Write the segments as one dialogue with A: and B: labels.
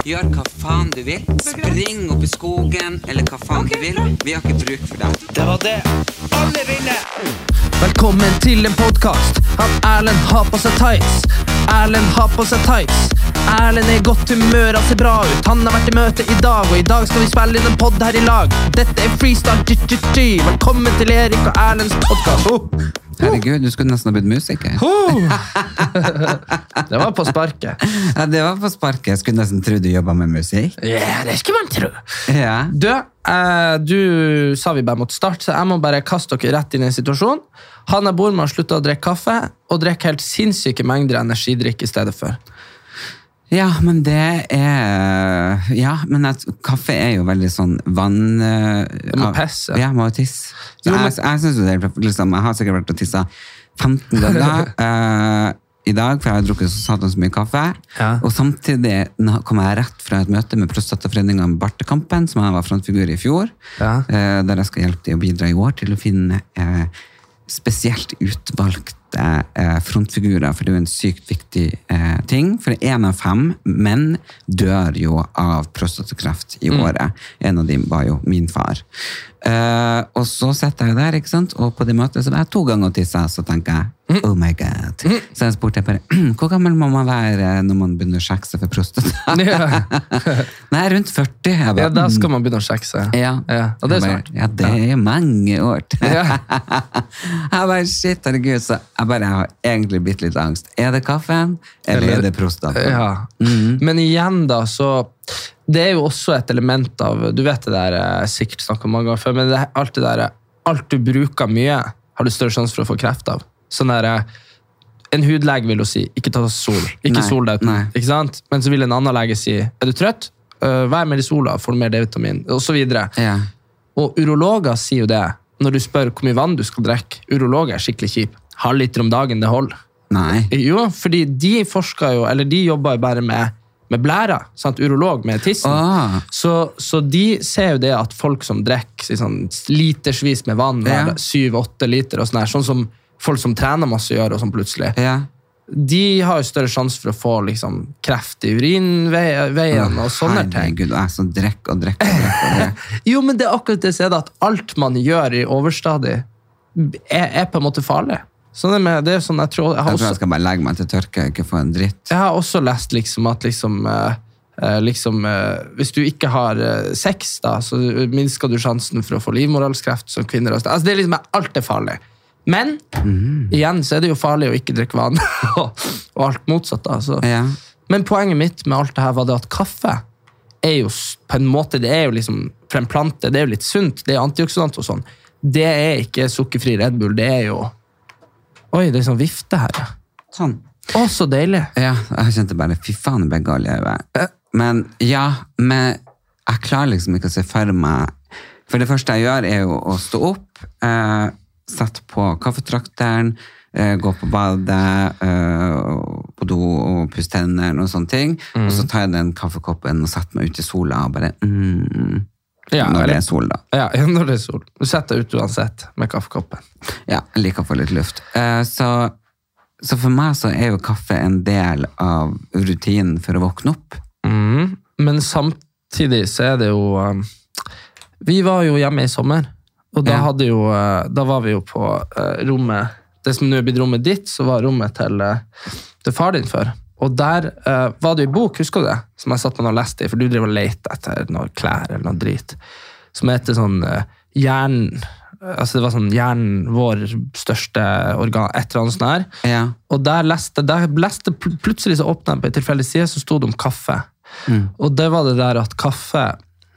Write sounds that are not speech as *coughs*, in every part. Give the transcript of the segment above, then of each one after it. A: Gjør hva faen du vil. Spring opp i skogen, eller hva faen du vil. Vi har ikke bruk for deg.
B: Det var det alle ville! Velkommen til en podkast. Han Erlend har på seg tights. Erlend har på seg tights. Erlend er i godt humør, han ser bra ut. Han har vært i møte i dag, og i dag skal vi spille inn en pod her i lag. Dette er Freestyle GGG. Velkommen til Erik og Erlends podkast. Oh.
A: Herregud, du skulle nesten ha blitt
B: *laughs*
A: musiker.
B: Oh. det var på sparket.
A: Ja, det var på sparket. Jeg skulle nesten tro du jobba med musikk.
B: Ja, det skulle man tro.
A: Ja.
B: Du, eh, du sa vi bare måtte starte, så jeg må bare kaste dere rett inn i en situasjon. Han jeg bor med, har slutta å drikke kaffe og drikker helt sinnssyke mengder energidrikk i stedet for.
A: Ja, men det er Ja, men at kaffe er jo veldig sånn vann... Det
B: må pisse.
A: Ja, må tisse. Så
B: Jo, men-
A: jeg, jeg synes jo det er liksom, Jeg har sikkert vært og tissa
B: *laughs*
A: 15 ganger eh, i dag, for jeg har drukket så satan så mye kaffe.
B: Ja.
A: Og samtidig nå kom jeg rett fra et møte med Prostataforeningen Bartekampen, som jeg var frontfigur i fjor,
B: Ja.
A: eh, der jeg skal hjelpe til å bidra i år til å finne eh, spesielt utvalgte eh, frontfigurer, for det er jo en sykt viktig eh, ting. For én av fem menn dør jo av prostatakreft i året. En av dem var jo min far. Eh, og så sitter jeg der, ikke sant? og på det møtet så var jeg to ganger og tissa, så tenker
B: Mm.
A: jeg oh my god. Så jeg spurte jeg bare *clears throat* hvor gammel må man være eh, når man begynner å sjekke seg for prostata?
B: Ja.
A: *laughs* Nei, rundt 40. Jeg bare,
B: Ja, da skal man begynne å sjekke seg.
A: Mm. ja.
B: Og det er
A: Jeg bare,
B: smart.
A: Ja, det er mange år til.
B: Ja.
A: *laughs* jeg bare, shit, herregud, så jeg bare jeg har egentlig blitt litt angst. Er det kaffen, eller,
B: Eller-
A: er det prostata?
B: Ja.
A: Mm.
B: Men igjen, da, så Det er jo også et element av Du vet det der eh, sikkert snakket om mange ganger før, men det, er alt det der eh, Alt du bruker mye, har du større sjanse for å få kreft av. Sånn der, eh, En hudlege vil jo si 'ikke ta sol'. Ikke
A: Nei,
B: sol deg.
A: nei.
B: Ikke sant? Men så vil en annen lege si 'er du trøtt'? Eh, Vær mer i sola, får du mer D-vitamin, osv.
A: Ja.
B: Og urologer sier jo det når du spør hvor mye vann du skal drikke. Urologer er skikkelig kjip. Halvliter om dagen, det holder.
A: Nei.
B: Jo, fordi de forsker jo, eller de jobber jo bare med, med blæra. Sant? Urolog med tissen.
A: Ah.
B: Så, så de ser jo det at folk som drikker si sånn, litersvis med vann,
A: Ja.
B: hver- syv-åtte liter, og sånn, her, sånn som folk som trener masse gjør, og sånn plutselig,
A: Ja.
B: de har jo større sjanse for å få liksom, kreft i urinveien og sånne ting.
A: Herregud, jeg som drikker og
B: *laughs*
A: drikker og drikker. og drikker.
B: Jo, men det er akkurat det som er det at alt man gjør i overstadig, er, er på en måte farlig. Sånn er det med, det er sånn jeg tror, jeg har
A: Jeg tror
B: også,
A: jeg skal bare legge meg til tørke og ikke få en dritt.
B: Jeg har også lest liksom at liksom, eh, eh, liksom eh, Hvis du ikke har eh, sex, da, så minsker du sjansen for å få livmorhalskreft som kvinner. og sånt. Altså, det er liksom, alt er farlig. Men igjen så er det jo farlig å ikke drikke vann, *laughs* og, og alt motsatt. da. Så.
A: Ja.
B: Men poenget mitt med alt det her var det at kaffe er jo s- på en måte, det er jo liksom, for en plante, det er jo litt sunt, det er antioksidant og sånn. Det er ikke sukkerfri Red Bull, det er jo Oi, det er sånn vifte her. ja.
A: Sånn.
B: Å, så deilig.
A: Ja, jeg kjente bare, fy faen, jeg ble gal i øyet. Eh, Men ja, men jeg klarer liksom ikke å se for meg. For det første jeg gjør er jo å stå opp, eh, sette på kaffetrakteren, eh, gå på badet, eh, og på do og pusse tennene og sånne ting. Og så tar jeg den kaffekoppen og setter meg ut i sola og bare, mm, når det er sol da.
B: Ja, *laughs* ja, når det er sol. Du setter deg ut uansett med kaffekoppen.
A: Ja, jeg liker å få litt luft. Eh, så, så for meg så er jo kaffe en del av rutinen for å våkne opp.
B: Men samtidig så er det jo um, Vi var jo hjemme i sommer, og da,
A: Ja.
B: hadde jo, eh, da var vi jo på eh, rommet Det som nå er blitt rommet ditt, så var rommet til, eh, til far din før. Og der eh, var det jo en bok, husker du det? Som jeg satt meg og leste i, for du driver og leter etter noe klær eller noe drit. Som heter sånn eh, Hjernen Altså det var sånn Hjernen, vår største organ, et eller annet sånt her.
A: Ja.
B: Og der leste, der leste pl plutselig så åpnet jeg på en tilfeldig side, så sto det om kaffe.
A: Mm.
B: Og det var det der at kaffe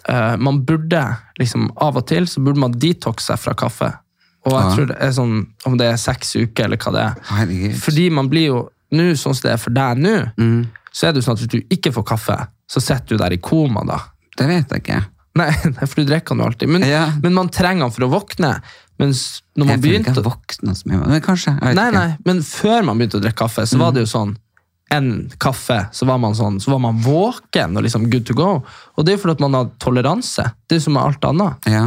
B: eh, Man burde liksom av og til så burde man detoxe seg fra kaffe. Og jeg
A: Ja.
B: tror det er sånn om det er seks uker eller hva det er.
A: Herregud. Mm.
B: Fordi man blir jo nå sånn som det er for deg nå, så er det jo sånn at hvis du ikke får kaffe, så sitter du der i koma, da. *laughs*
A: Det vet jeg ikke.
B: Nei, det er for du drikker den jo alltid. Men,
A: Ja.
B: men man trenger den for å våkne. Mens når man
A: Jeg føler ikke
B: begynte
A: jeg våkna så mye. Men kanskje. Jeg vet
B: Nei,
A: ikke.
B: nei, men før man begynte å drikke kaffe, så var det jo sånn en kaffe, så var man sånn, så var man våken og liksom good to go. Og det er jo fordi at man har toleranse. Det er jo som med alt annet.
A: Ja.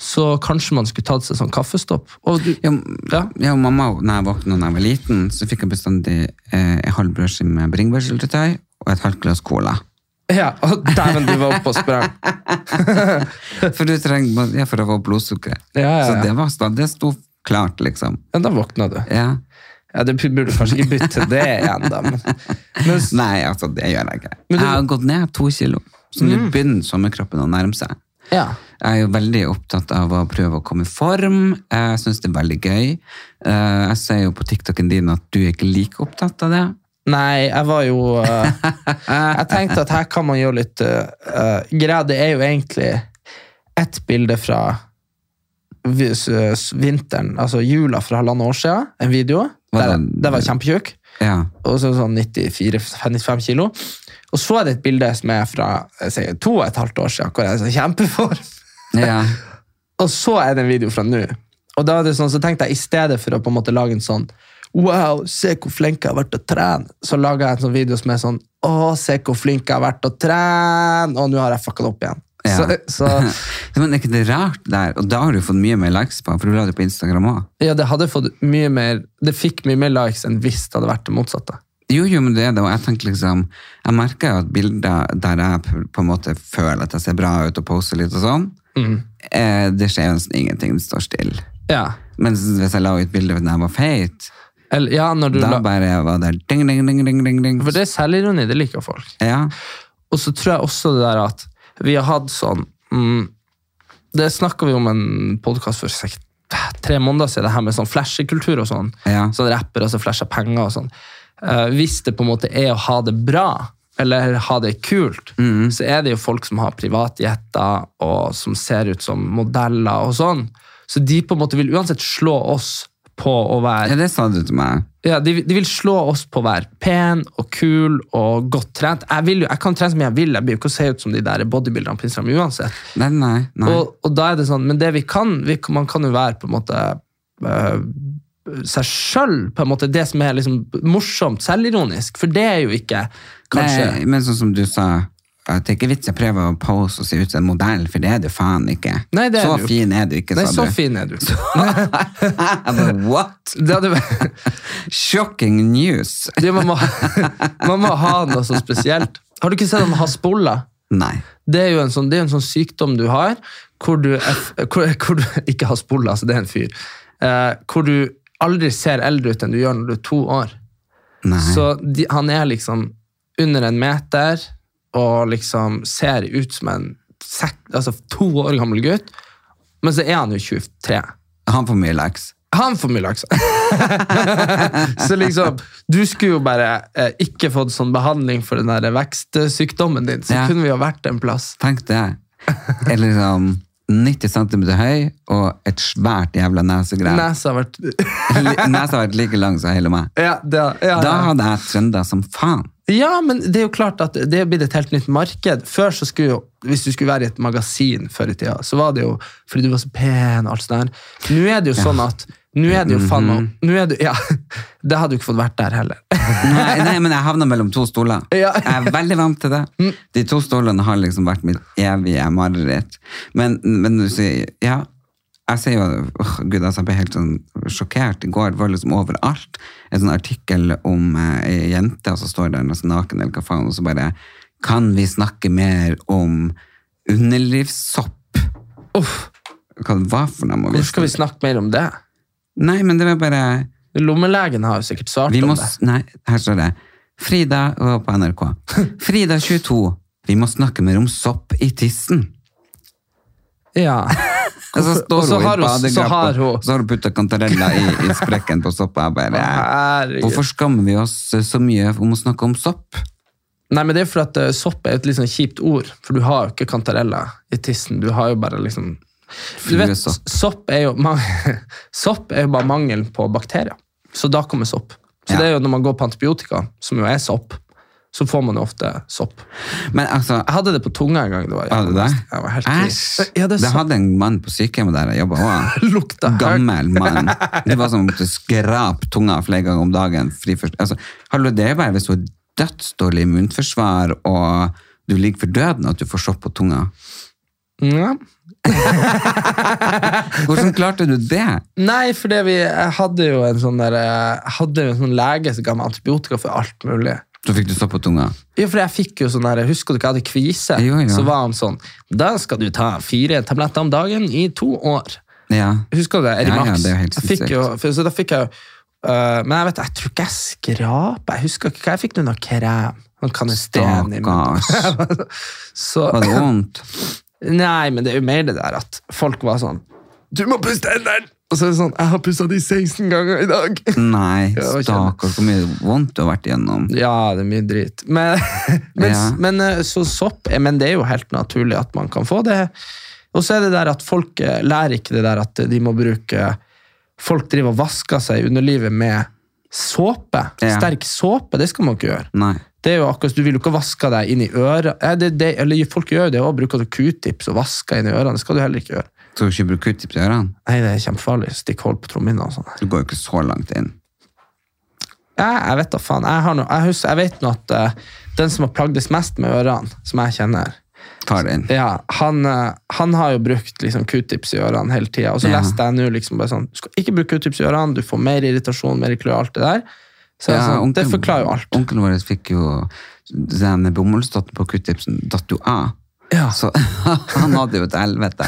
B: Så kanskje man skulle tatt seg sånn kaffestopp. Og du,
A: Ja,
B: Ja.
A: ja, mamma, når jeg våkna da jeg var liten, så fikk jeg bestandig eh, en halv brødskive med bringebærsyltetøy og et halvt glass
B: *laughs*
A: cola.
B: ja, og dæven, du var oppe og sprang.
A: For du trenger bare- ja, for å få blodsukker.
B: Ja, ja, ja.
A: Så det, var, sta- det sto klart, liksom.
B: Ja, da våkna du.
A: Ja.
B: Ja, det burde du kanskje ikke bytte til det igjen, da. Men, men, s-
A: Nei, altså, det gjør jeg ikke.
B: Men du- Mm.
A: Jeg har gått ned to kilo, så nå begynner sommerkroppen å nærme seg.
B: ja.
A: Jeg er jo veldig opptatt av å prøve å komme i form. Jeg syns det er veldig gøy. Eh, Jeg ser jo på TikToken din at du er ikke like opptatt av det.
B: Nei, jeg var jo eh, Jeg tenkte at her kan man gjøre litt uh, Greia, det er jo egentlig ett bilde fra vi- s- s- vinteren, altså jula for halvannet år siden, en video.
A: Hva
B: Der,
A: da?
B: der var jeg kjempetjukk.
A: Ja.
B: Og så sånn 94-95 kilo. Og så er det et bilde som er fra jeg sier, to og et halvt år siden, hvor jeg er så kjempeform. *laughs*
A: ja.
B: Og så er det en video fra nå. Og da er det sånn, så tenkte jeg, i stedet for å på en måte lage en sånn Wow, se hvor flink jeg har vært til å trene! Så laga jeg en sånn video som er sånn Å, se hvor flink jeg har vært til å trene! Og nå har jeg fucka det opp igjen.
A: Ja.
B: Så, så
A: *laughs* Men er ikke det rart der? Og da har du fått mye mer likes på, for du la det på Instagram òg.
B: ja, det hadde fått mye mer Det fikk mye mer likes enn hvis det hadde vært det motsatte.
A: Jo, jo, men det er det, og jeg tenker liksom Jeg merker jo at bilder der jeg p- på en måte føler at jeg ser bra ut og poser litt og sånn, eh, det skjer jo nesten ingenting, det står stille.
B: Ja.
A: Mens hvis jeg la ut bilder da jeg var feit,
B: Eller, ja, når du
A: da
B: la,
A: bare var det ding, ding, ding, ding, ding, ding.
B: For det er selvironi. Det liker folk.
A: Ja,
B: Og så tror jeg også det der at vi har hatt sånn mm, Det snakka vi om en podkast for sek- tre måneder siden, det her med sånn flashekultur og sånn.
A: Ja.
B: Sånn rappere som flasher penger og sånn. Eh, hvis det på en måte er å ha det bra, eller ha det kult, så er det jo folk som har privatjetter, og som ser ut som modeller og sånn. Så de på en måte vil uansett slå oss på å være
A: ja det sa du til meg.
B: ja, de, de vil slå oss på å være pen og kul og godt trent. Jeg, vil jo, jeg kan trene som jeg vil, jeg blir jo ikke å se ut som de der bodybuilderne på Instagram uansett.
A: Nei, nei, nei.
B: Og, og da er det sånn, men det vi kan, vi, kan- man kan jo være på en måte øh, seg sjøl, på en måte det som er liksom morsomt, selvironisk, for det er jo ikke kanskje
A: Nei, men sånn som du sa, at det er ikke vits jeg prøver å pose og se ut som en modell, for det er du faen ikke.
B: Nei, det er
A: så
B: du jo ikke.
A: fin er du ikke,
B: Nei,
A: sa
B: så
A: du.
B: fin er du.
A: *laughs*
B: *laughs*
A: Jeg bare, what?
B: Det hadde vært
A: *laughs* Shocking news.
B: det, man, må, man må ha noe så spesielt. Har du ikke sett han Hasbulla?
A: Nei.
B: Det er jo en sånn, det er jo en sånn sykdom du har, hvor du, er- hvor, hvor du *laughs* ikke har spola, altså det er en fyr, eh, hvor du aldri ser eldre ut enn du gjør når du er to år.
A: Nei.
B: Så de, han er liksom under en meter og liksom ser ut som en sek, altså to år gammel gutt, men så er han jo 23.
A: Han får mye likes.
B: Han får mye laks. *laughs* så liksom, du skulle jo bare eh, ikke fått sånn behandling for den der vekstsykdommen din, så
A: Ja.
B: kunne vi jo vært en plass.
A: Tenk det. Er liksom 90 cm høy og et svært jævla nesegreie.
B: Nesa har vært *laughs*
A: Nesa har vært like lang som hele meg.
B: Ja, det, ja,
A: Da
B: ja.
A: hadde jeg trønder som faen.
B: ja, men det er jo klart at det er blitt et helt nytt marked. Før så skulle jo, Hvis du skulle være i et magasin før i tida, så var det jo fordi du var så pen. og alt sånt der. Nå er det jo sånn at Nå er det jo faen
A: Mhm.
B: meg nå er det, ja, *laughs* Det hadde du ikke fått vært der heller. *laughs*
A: Nei, nei, men jeg havna mellom to stoler.
B: Ja. Mm.
A: Jeg er veldig vant til det. De to stolene har liksom vært mitt evige mareritt. Men, men du sier Ja. Jeg ser jo åh, Gud, altså, jeg ble helt sånn sjokkert. I går var det liksom overalt en sånn artikkel om eh, ei jente, og så står der nesten naken, eller hva faen, og så bare Kan vi snakke mer om underlivssopp?
B: Uff,
A: Hva det var for noe? må
B: Hvor skal vi
A: snakke?
B: snakke mer om det?
A: Nei, men det var bare
B: Lommelegen har jo sikkert svart
A: Vi
B: om
A: må,
B: det.
A: s- nei, her står det. Frida og på NRK. Frida 22. Vi må snakke mer om sopp i tissen. *laughs*
B: Ja.
A: Og så
B: Og
A: står
B: så
A: hun i
B: har hun- så har
A: badekapp,
B: hun-
A: og så har hun putta kantareller i, i sprekken på soppa. Jeg bare,
B: Herregud.
A: Hvorfor skammer vi oss så mye om å snakke om sopp?
B: Nei, men Det er for at eh, sopp er et litt sånn kjipt ord, for du har jo ikke kantareller i tissen. Du har jo bare liksom Du vet,
A: Fluesopp.
B: sopp er jo, ma- *laughs* sopp er jo bare mangel på bakterier. Så da kommer sopp. Så
A: Ja.
B: det er jo når man går på antibiotika, som jo er sopp, så får man jo ofte sopp.
A: Men altså,
B: Jeg hadde det på tunga en gang. Det var,
A: Var det det?
B: Jeg var helt
A: Æsj!
B: kris. Ja, det,
A: det hadde en mann på sykehjemmet der jeg jobba òg.
B: *laughs* lukta høyt.
A: Gammel mann. Det var som å måtte skrape tunga flere ganger om dagen. Fordi først, altså, hallo, det er bare hvis du har dødsdårlig immunforsvar og du ligger for døden at du får sopp på tunga.
B: Ja.
A: Hvordan klarte du det?
B: Nei, for det vi, jeg hadde jo en sånn der, jeg hadde jo en sånn lege som ga meg antibiotika for alt mulig.
A: Så fikk du sopp på tunga.
B: Ja, for jeg fikk jo sånn der, Husker du ikke jeg hadde kvise?
A: Jo, ja.
B: Så var han sånn Da skal du ta fire tabletter om dagen i to år.
A: Ja.
B: Husker du det?
A: Ja, ja,
B: Erimax.
A: det er jo helt
B: jeg fikk
A: sinnssykt.
B: jo, for, så da fikk jeg jo øh, Men jeg vet, jeg tror ikke jeg skrapa. Jeg husker ikke hva jeg fikk. Noe krem. Noen kanestren i munnen.
A: Stakkars.
B: Så,
A: Var det vondt?
B: *laughs* Nei, men det er jo mer det der at folk var sånn Du må pusse tennene! Og så er det sånn Jeg har pussa de 16 ganger i dag. Ja,
A: Nei,
B: jeg kjenner.
A: stakkars, hvor mye vondt du har vært igjennom.
B: Ja, det er mye drit. Men, *laughs* men,
A: Ja.
B: men eh, så sopp eh, Men det er jo helt naturlig at man kan få det. Og så er det der at folk eh, lærer ikke det der at de må bruke Folk driver og vasker seg i underlivet med såpe.
A: Ja.
B: Sterk såpe, det skal man ikke gjøre.
A: Nei.
B: Det er jo akkurat, Du vil jo ikke vaske deg inn i øret. Eh, Det, det, eller folk gjør jo det òg, bruker q-tips og vasker inn i ørene. Det skal du heller ikke gjøre.
A: Skal du ikke bruke uttips i ørene?
B: Nei, det er kjempefarlig. Stikk hold på trommehinna og sånn.
A: Du går jo ikke så langt inn.
B: Jeg, jeg vet da faen. Jeg, har no, jeg, husker, jeg vet nå at eh, den som har plagdes mest med ørene, som jeg kjenner,
A: Tar det inn.
B: ja, han, eh, han har jo brukt liksom, q-tips i ørene hele tida. Og så
A: Ja.
B: leste jeg nå liksom bare sånn Du skal ikke bruke q-tips i ørene, du får mer irritasjon, mer klø, alt det der. Så jeg er
A: Ja,
B: sånn, Det forklarer jo alt.
A: Onkelen vår fikk jo den bomullsdotten på kuttipsen datt jo av.
B: Ja.
A: Så *laughs* han hadde jo et helvete.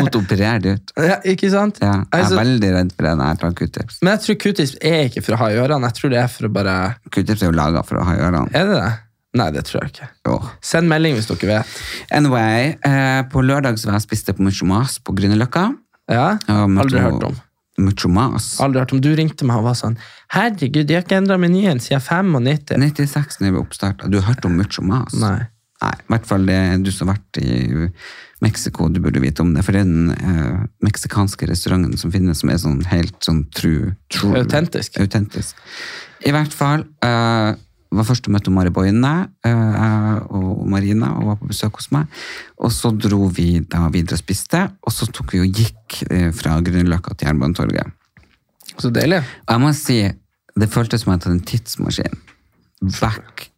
A: Måtte operere det ut.
B: Ja, ikke sant?
A: Ja, jeg er
B: Altså,
A: veldig redd for det når jeg tar kuttips.
B: men jeg tror q-tips er ikke for å ha i ørene. Jeg tror det er for å bare
A: Kuttips er jo laga for å ha i ørene.
B: Er det det? Nei, det tror jeg ikke.
A: Åh.
B: Send melding hvis dere vet.
A: Anyway, eh, på lørdag så var jeg og spiste på Mucho Mas på Grünerløkka.
B: Ja?
A: Ja, men
B: Aldri
A: to-
B: hørt om.
A: Mucho Mas.
B: Aldri hørt om du ringte meg og var sånn Herregud, jeg har ikke endra menyen siden 95.
A: 96 når vi oppstarta. Du har hørt om Mucho Mas?
B: Nei.
A: Nei, i hvert fall det, du som har vært i Mexico, du burde vite om det. For det er den eh, meksikanske restauranten som finnes, som er sånn helt sånn true. true
B: Autentisk.
A: autentisk. I hvert fall eh, var første møte Mari Boine eh, og Marina, og var på besøk hos meg. Og så dro vi da videre og spiste, og så tok vi og gikk eh, fra Grünerløkka til Jernbanetorget.
B: Så deilig.
A: Og jeg må si, det føltes som jeg hadde tatt en tidsmaskin. Vekk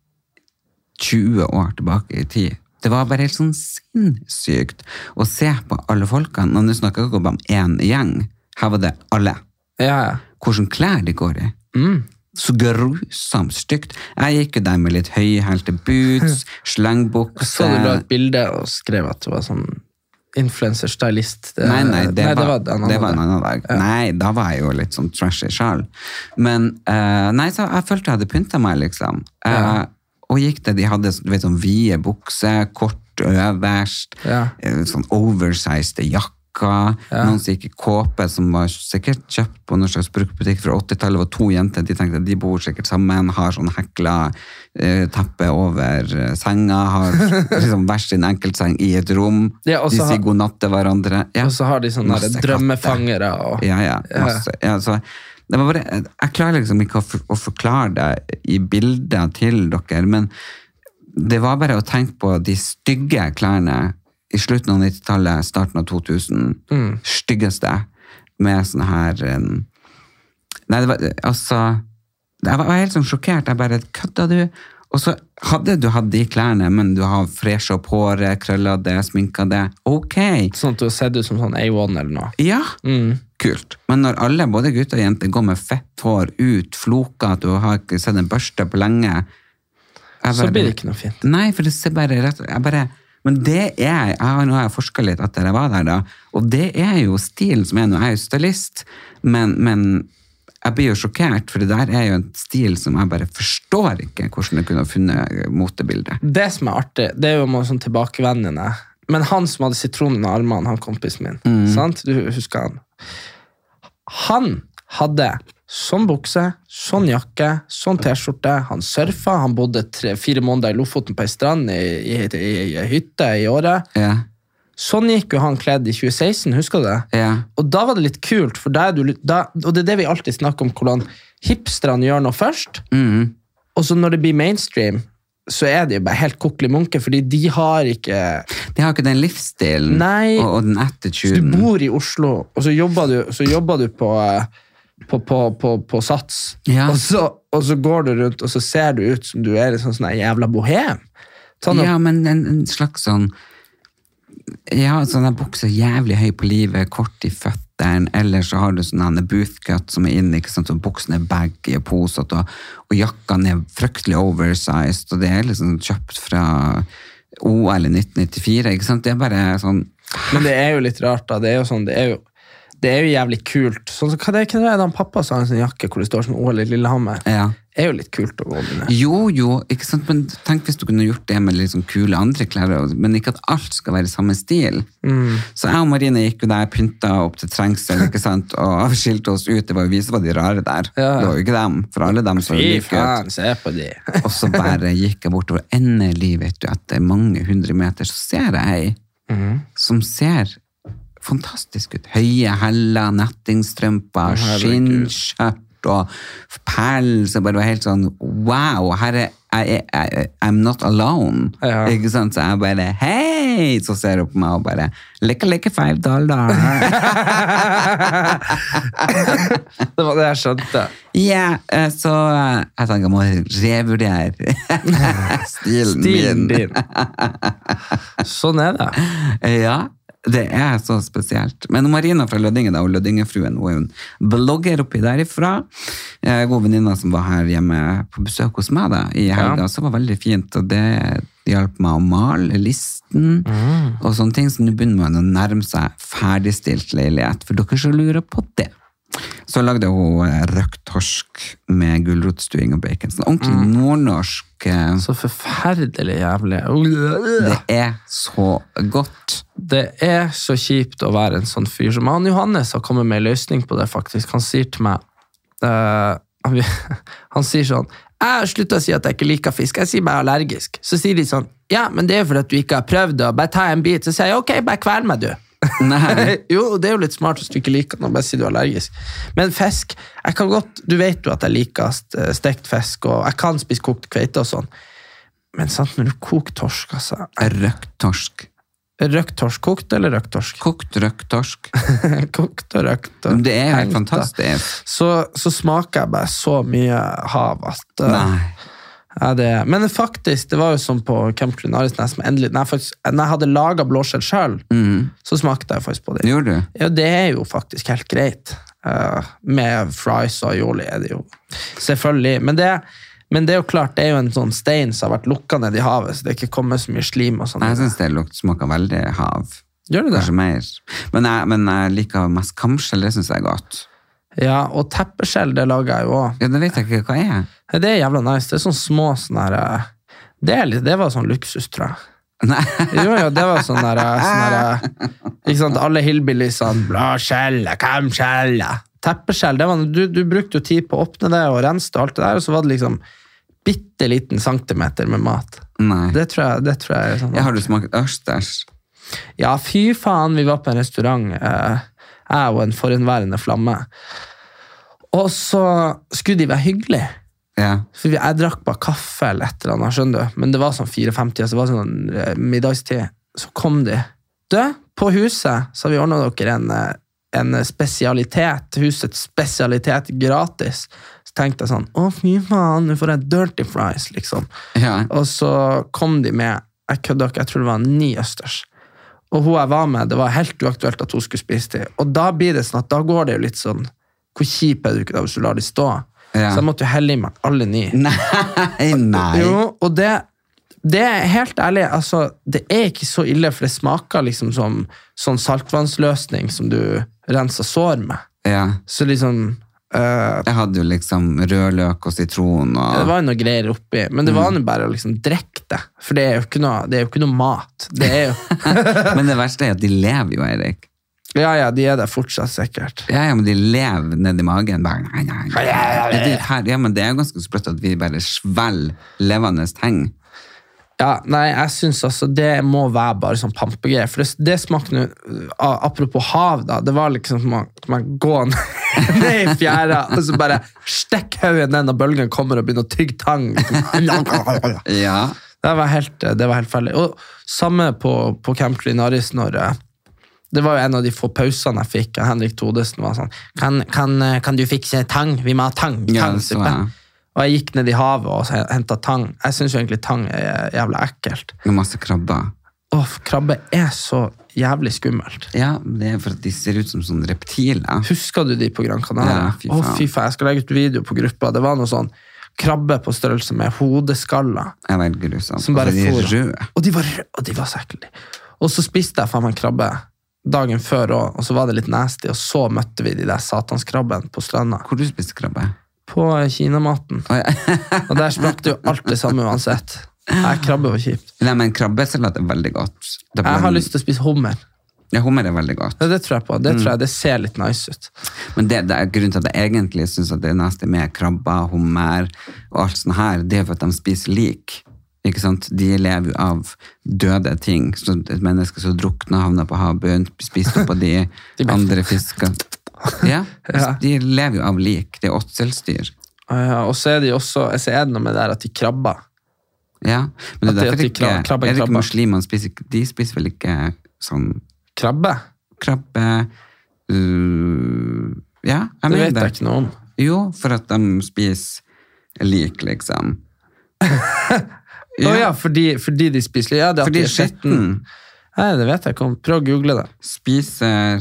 A: 20 år tilbake i tid. Det var bare helt sånn sinnssykt å se på alle folkene. Og nå snakker jeg ikke bare om én gjeng. Her var det alle.
B: Ja, ja.
A: Hvilke klær de går i.
B: Mm.
A: Så grusomt stygt. Jeg gikk jo der med litt høyhælte
B: *laughs*
A: boots,
B: Så du la
A: slengbukse
B: et bilde og skrev at du var sånn influencer stylist. Det-
A: Nei, eh, nei, det, var, det,
B: den
A: var, en annen dag. Nei, da var jeg jo litt sånn trashy sjøl. Men eh, nei, så jeg følte jeg hadde pynta meg, liksom. Eh, Og gikk det, de hadde du vet, sånn vide bukser, kort øverst,
B: Ja.
A: eh, sånn oversized jakker. Noen som gikk i kåpe, som var sikkert kjøpt på noen slags bruktbutikk fra 80-tallet. var to jenter, de tenkte de bor sikkert sammen, har sånn hekla eh, teppe over eh, senga, *laughs* har liksom hver sin enkeltseng i et rom.
B: Ja, og så
A: de
B: har-
A: sier god natt til hverandre. Ja.
B: Og så har de sånne
A: Masse
B: der drømmefangere og
A: Ja, ja. Masse. Ja, så det var bare, jeg klarer liksom ikke å, for, å forklare det i bilder til dere, men det var bare å tenke på de stygge klærne i slutten av 90-tallet, starten av 2000.
B: Mm.
A: Styggeste. Med sånn her eh, Nei, det var altså Jeg var helt sånn sjokkert. Jeg bare Kødda du? Og så hadde du hatt de klærne, men du har fresha opp håret, krølla det, sminka det. Ok!
B: sånn at du har sett ut som sånn A1 eller noe.
A: Ja,
B: Mm.
A: kult. Men når alle, både gutter og jenter, går med fett hår ut, floker, at du har ikke sett en børste på lenge jeg
B: Så
A: bare-
B: blir det ikke noe fint.
A: Nei, for det ser bare rett jeg bare, Men det er jeg har- Nå har jeg forska litt etter jeg var der, da. Og det er jo stilen som er nå. Jeg er jo stylist, men, men jeg blir jo sjokkert, for det der er jo en stil som jeg bare forstår ikke hvordan jeg kunne ha funnet motebildet.
B: Det som er artig, det er jo med sånn tilbakevendende Men han som hadde sitronen i armene, han kompisen min,
A: Mm.
B: sant? Du husker han? Han hadde sånn bukse, sånn jakke, sånn T-skjorte. Han surfa, han bodde tre, fire måneder i Lofoten på ei strand, i, i, i, i hytte i året.
A: Ja,
B: Sånn gikk jo han kledd i 2016, husker du det?
A: ja,
B: Og da var det litt kult, for da er du, litt- da, og det er det vi alltid
A: mm.
B: snakker om, hvordan hipsterne gjør noe først, og så når det blir mainstream, så er de jo bare helt kokkelig munke, fordi de har ikke
A: De har ikke den livsstilen
B: Nei.
A: og, og
B: Så
A: den
B: du
A: attituden.
B: bor i Oslo, og så jobber du, så jobber du på, eh, på, på, på, på Sats,
A: Ja.
B: og, så, og så går du rundt, og så ser du ut som du er en sånn, sånn her jævla bohem. Sånn,
A: Ja, men en, en slags sånn Ja, sånne bukser jævlig høy på livet, kort i føttene, eller så har du sånn sånne boothcut som er inne, ikke sant, og buksene er baggy og posete, og, og jakkene er fryktelig oversized, og det er liksom kjøpt fra OL i 1994, ikke sant? Det er bare sånn
B: Men det er jo litt rart, da. Det er jo sånn, det er jo, det er jo jævlig kult. Sånn, som- hva det, hva det er det han pappa sa i sin jakke, hvor det står sånn OL i Lillehammer?
A: Ja.
B: Det er jo litt kult å gå med.
A: Jo, jo, ikke sant? Men tenk hvis du kunne gjort det med litt sånn kule andre klær, og- men ikke at alt skal være i samme stil.
B: Mm.
A: Så jeg og Marine gikk jo der, pynta opp til trengsel, ikke sant? og skilte oss ut. Det var jo vi som var de rare der.
B: Ja.
A: Det var jo ikke dem, for alle dem
B: Fy
A: så like ut.
B: faen, se på
A: *laughs*
B: de.
A: Og så bare gikk jeg bortover, og endelig, vet du, etter mange hundre meter, så ser jeg ei
B: Mhm.
A: som ser fantastisk ut. Høye heller, nettingstrømper, skinnskjørt og pels. og bare var helt sånn wow, her er jeg, jeg, jeg, I'm not alone.
B: Ja.
A: Ikke sant? Så jeg bare hei, så ser hun på meg og bare like, like five dollar. *laughs*
B: Det var det jeg skjønte.
A: Ja, eh, så eh, jeg tenker jeg må *laughs* revurdere stilen,
B: Stilen
A: min.
B: din. Sånn er det.
A: Ja, det er så spesielt. Men Marina fra Lødingen, da, og Lødingefruen, hun er jo en blogger oppi derifra. Eh, God venninne som var her hjemme på besøk hos meg da, i helga, så var veldig fint. Og det hjalp meg å male listen og sånne ting. Så nå begynner man å nærme seg ferdigstilt leilighet, for dere som lurer på det. Så lagde hun eh, røkt torsk med gulrotstuing og bacon. Sånn ordentlig nordnorsk. eh,
B: Så forferdelig jævlig.
A: Det er så godt.
B: det er så kjipt å være en sånn fyr som han Johannes har kommet med en løsning på det, faktisk. Han sier til meg eh, han, *laughs* han sier sånn Jeg har slutta å si at jeg ikke liker fisk, jeg sier bare allergisk. Så sier de sånn Ja, men det er jo fordi at du ikke har prøvd det, og bare ta en bit. Så sier jeg ok, bare kvel meg, du.
A: Nei.
B: *laughs* jo, det er jo litt smart hvis du ikke liker den, og bare sier du er allergisk. Men fisk jeg kan godt, Du vet jo at jeg liker st- eh, stekt fisk, og jeg kan spise kokt kveite og sånn. Men sant, når du koker torsk, altså
A: Røkt torsk.
B: Røkt torsk kokt eller røkt torsk?
A: Kokt røkt torsk. *laughs*
B: *laughs* kokt og røkt. Og
A: Men Det er jo
B: helt,
A: helt fantastisk.
B: da. Så, så smaker jeg bare så mye hav at uh,
A: Nei.
B: ja, det, Men faktisk, det var jo som på Camp Lunarisnes med endelig Når jeg, faktisk, når jeg hadde laga blåskjell sjøl,
A: Mhm.
B: så smakte jeg faktisk på det.
A: Gjorde du?
B: Ja, det er jo faktisk helt greit. Uh, med fries og aioli er det jo Selvfølgelig. Men det, men det er jo klart, det er jo en sånn stein som har vært lukka ned i havet, så det er ikke kommet så mye slim og sånn.
A: Jeg syns det lukt smaker veldig hav.
B: Gjør det det?
A: Kanskje mer. Men jeg, men jeg liker mest kamskjell, det syns jeg er godt.
B: Ja, og teppeskjell, det lager jeg jo òg.
A: Ja, Det vet jeg ikke hva er.
B: Nei, Det er jævla nice. Det er sånn små sånn her eh, det, er litt, det var sånn luksus, tror jeg.
A: Nei.
B: Jo, jo, det var sånn der, eh, sånn der eh, Ikke sant, alle sånn, hillbilliesene Bladskjelle, kamskjelle Teppeskjell, det var, du, du brukte jo tid på å åpne det og rense det og alt det der, og så var det liksom bitte liten centimeter med mat.
A: Nei.
B: Det tror jeg, det tror jeg er sånn.
A: Ja, har du smakt østers?
B: Ja, fy faen, vi var på en restaurant. eh, Jeg og en forhenværende flamme. Og så skulle de være hyggelige.
A: Ja.
B: For vi- jeg drakk bare kaffe eller et eller annet, skjønner du. Men det var sånn 4-5-tida, så det var sånn eh, middagstid. Så kom de. Du, på huset så har vi ordna dere en, eh, en spesialitet, husets spesialitet, gratis. Så tenkte jeg sånn, å fy faen, nå får jeg dirty fries, liksom.
A: ja. *laughs*
B: Og så kom de med, jeg kødder ikke, jeg tror det var ni østers. Og hun jeg var med, det var helt uaktuelt at hun skulle spise de. Og da blir det sånn at da går det jo litt sånn, hvor kjip er du ikke da hvis du lar de stå?
A: Ja.
B: Så jeg måtte jo helle i meg alle ni.
A: Nei, nei.
B: Jo, og det, det er helt ærlig, altså, det er ikke så ille, for det smaker liksom som sånn saltvannsløsning som du renser sår med.
A: Ja.
B: Så liksom, eh,
A: Jeg hadde jo liksom rødløk og sitron
B: det
A: og
B: var jo noe greier oppi, men det
A: Mm.
B: var jo bare å liksom drekke det, for det er jo ikke noe, det er jo ikke noe mat. Det er
A: *laughs*
B: jo,
A: Men det verste er at de lever jo, Eirik.
B: ja, ja, de er der fortsatt sikkert.
A: Ja, ja, men de lever nedi magen. Bare, nei, nei, nei. Det, er her, ja, men det er jo ganske sprøtt at vi bare svelger levende ting.
B: Ja, nei, jeg synes altså Det må være bare sånn pampegreier. For det, det smakte nå a- Apropos hav, da. Det var liksom som å, som å gå *laughs* ned i fjæra, og så bare stikk hodet ned når bølgen kommer og begynner å tygge tang. Det
A: Ja.
B: var helt, det var helt ferdig. Og samme på, på Camp Culinaris når eh, det var jo en av de få pausene jeg fikk. og Henrik Todesen var sånn Kan, kan, eh, kan du fikse tang? Vi må ha tang.
A: Ja, det så
B: tangsuppe."
A: jeg.
B: og jeg gikk ned i havet og henta tang. Jeg syns egentlig tang er jævla ekkelt.
A: Med masse krabber.
B: Åh, krabbe er så jævlig skummelt.
A: Ja, det er for at de ser ut som sånne reptiler.
B: Husker du de på Gran Canaria? Å,
A: Ja, fy faen.
B: fy faen. Jeg skal legge ut video på gruppa. Det var noe sånn krabbe på størrelse med hodeskaller.
A: Jeg velger grusomt.
B: Som bare
A: Altså, de er
B: for.
A: røde.
B: Og de var røde, og de var så ekle. Og så spiste jeg faen meg krabbe dagen før òg, og så var det litt nasty, og så møtte vi de der satanskrabbene på stranda.
A: Hvor du spiste krabbe?
B: På kinamaten. Og der sprakk det jo alt det samme uansett. Nei, krabbe var kjipt.
A: Nei, men krabbesalat er veldig godt. Det er
B: Jeg har
A: bland-
B: lyst til å spise hummer.
A: Ja, hummer er veldig godt.
B: Ja, Det tror jeg på. Det tror jeg det ser litt nice ut.
A: Men det, det er grunnen til at jeg egentlig syns det er nasty med krabber, hummer og alt sånt her, det er for at de spiser lik. Ikke sant? De lever jo av døde ting. Så et menneske som drukner, havner på havbunnen, spiser opp av
B: *laughs*
A: de,
B: blir-
A: andre fiskene. Ja,
B: *laughs* Ja.
A: de lever jo av lik. Det er åtselsdyr.
B: Ja, Eh, og så er det jo også så er det noe med det der at de krabber.
A: Ja. Men det
B: At de-
A: er
B: at
A: derfor
B: de
A: ikke,
B: krab- krabber
A: er det
B: krabber.
A: ikke muslimene spiser ikke- De spiser vel ikke sånn
B: Krabbe?
A: krabbe øh, Ja, jeg
B: Det
A: mener
B: vet jeg ikke noe om.
A: Jo, for at de spiser lik, liksom.
B: Å ja, fordi, fordi de spiser litt. Ja, det at
A: Fordi
B: de er mm. skitten.
A: skitten
B: Nei, det vet jeg ikke om. Prøv å google det.
A: spiser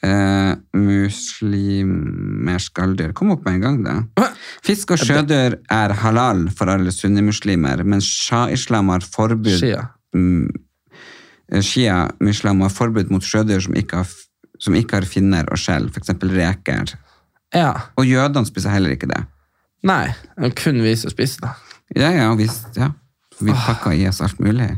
A: eh, muslimer skalldyr. Kom opp med en gang, da. Fisk og sjødyr er halal for alle sunnimuslimer, men shah-islam har forbud
B: Shia.
A: Mm, eh, Shia-islam har forbud mot sjødyr som ikke har, f- som ikke har finner og skjell, f.eks. reker.
B: Ja.
A: Og jødene spiser heller ikke det.
B: Nei, det er kun vi som spiser det.
A: Ja, ja, visst, ja. Vi pakker i oss alt mulig.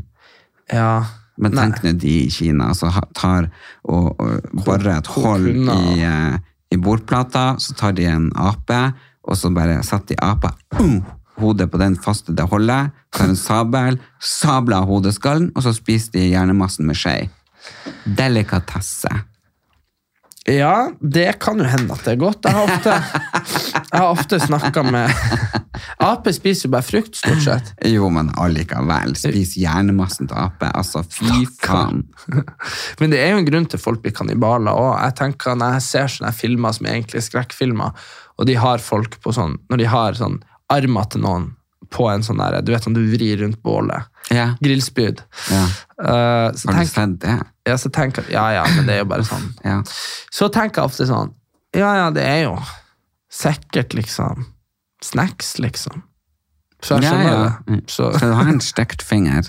B: Ja.
A: Men
B: Nei.
A: tenk nå de i Kina som ha- tar og, og borer et hull
B: kunne-
A: i, eh, i bordplata, så tar de en ape, og så bare setter de apa um, hodet på den faste det holdet, tar en sabel, sabler av hodeskallen, og så spiser de hjernemassen med skje. Delikatesse.
B: Ja, det kan jo hende at det er godt. Jeg har ofte, *laughs* jeg har ofte snakka med *laughs* Aper spiser jo bare frukt, stort sett.
A: Jo, men allikevel, spis hjernemassen til ape. Altså, fy faen.
B: Men det er jo en grunn til folk blir kannibaler òg. Jeg tenker når jeg ser sånne filmer som egentlig er skrekkfilmer, og de har folk på sånn Når de har sånn armer til noen på en sånn der, Du vet sånn du vrir rundt bålet.
A: Ja.
B: Grillspyd.
A: Ja.
B: Eh, så,
A: Har du
B: tenk,
A: sett det?
B: ja, så tenker jeg Ja ja, men det er jo bare sånn.
A: Ja.
B: Så tenker jeg ofte sånn Ja ja, det er jo sikkert liksom snacks, liksom. Så jeg
A: Ja,
B: skjønner
A: ja. Mm.
B: det. Så,
A: Skal du ha en stekt
B: *laughs*
A: finger?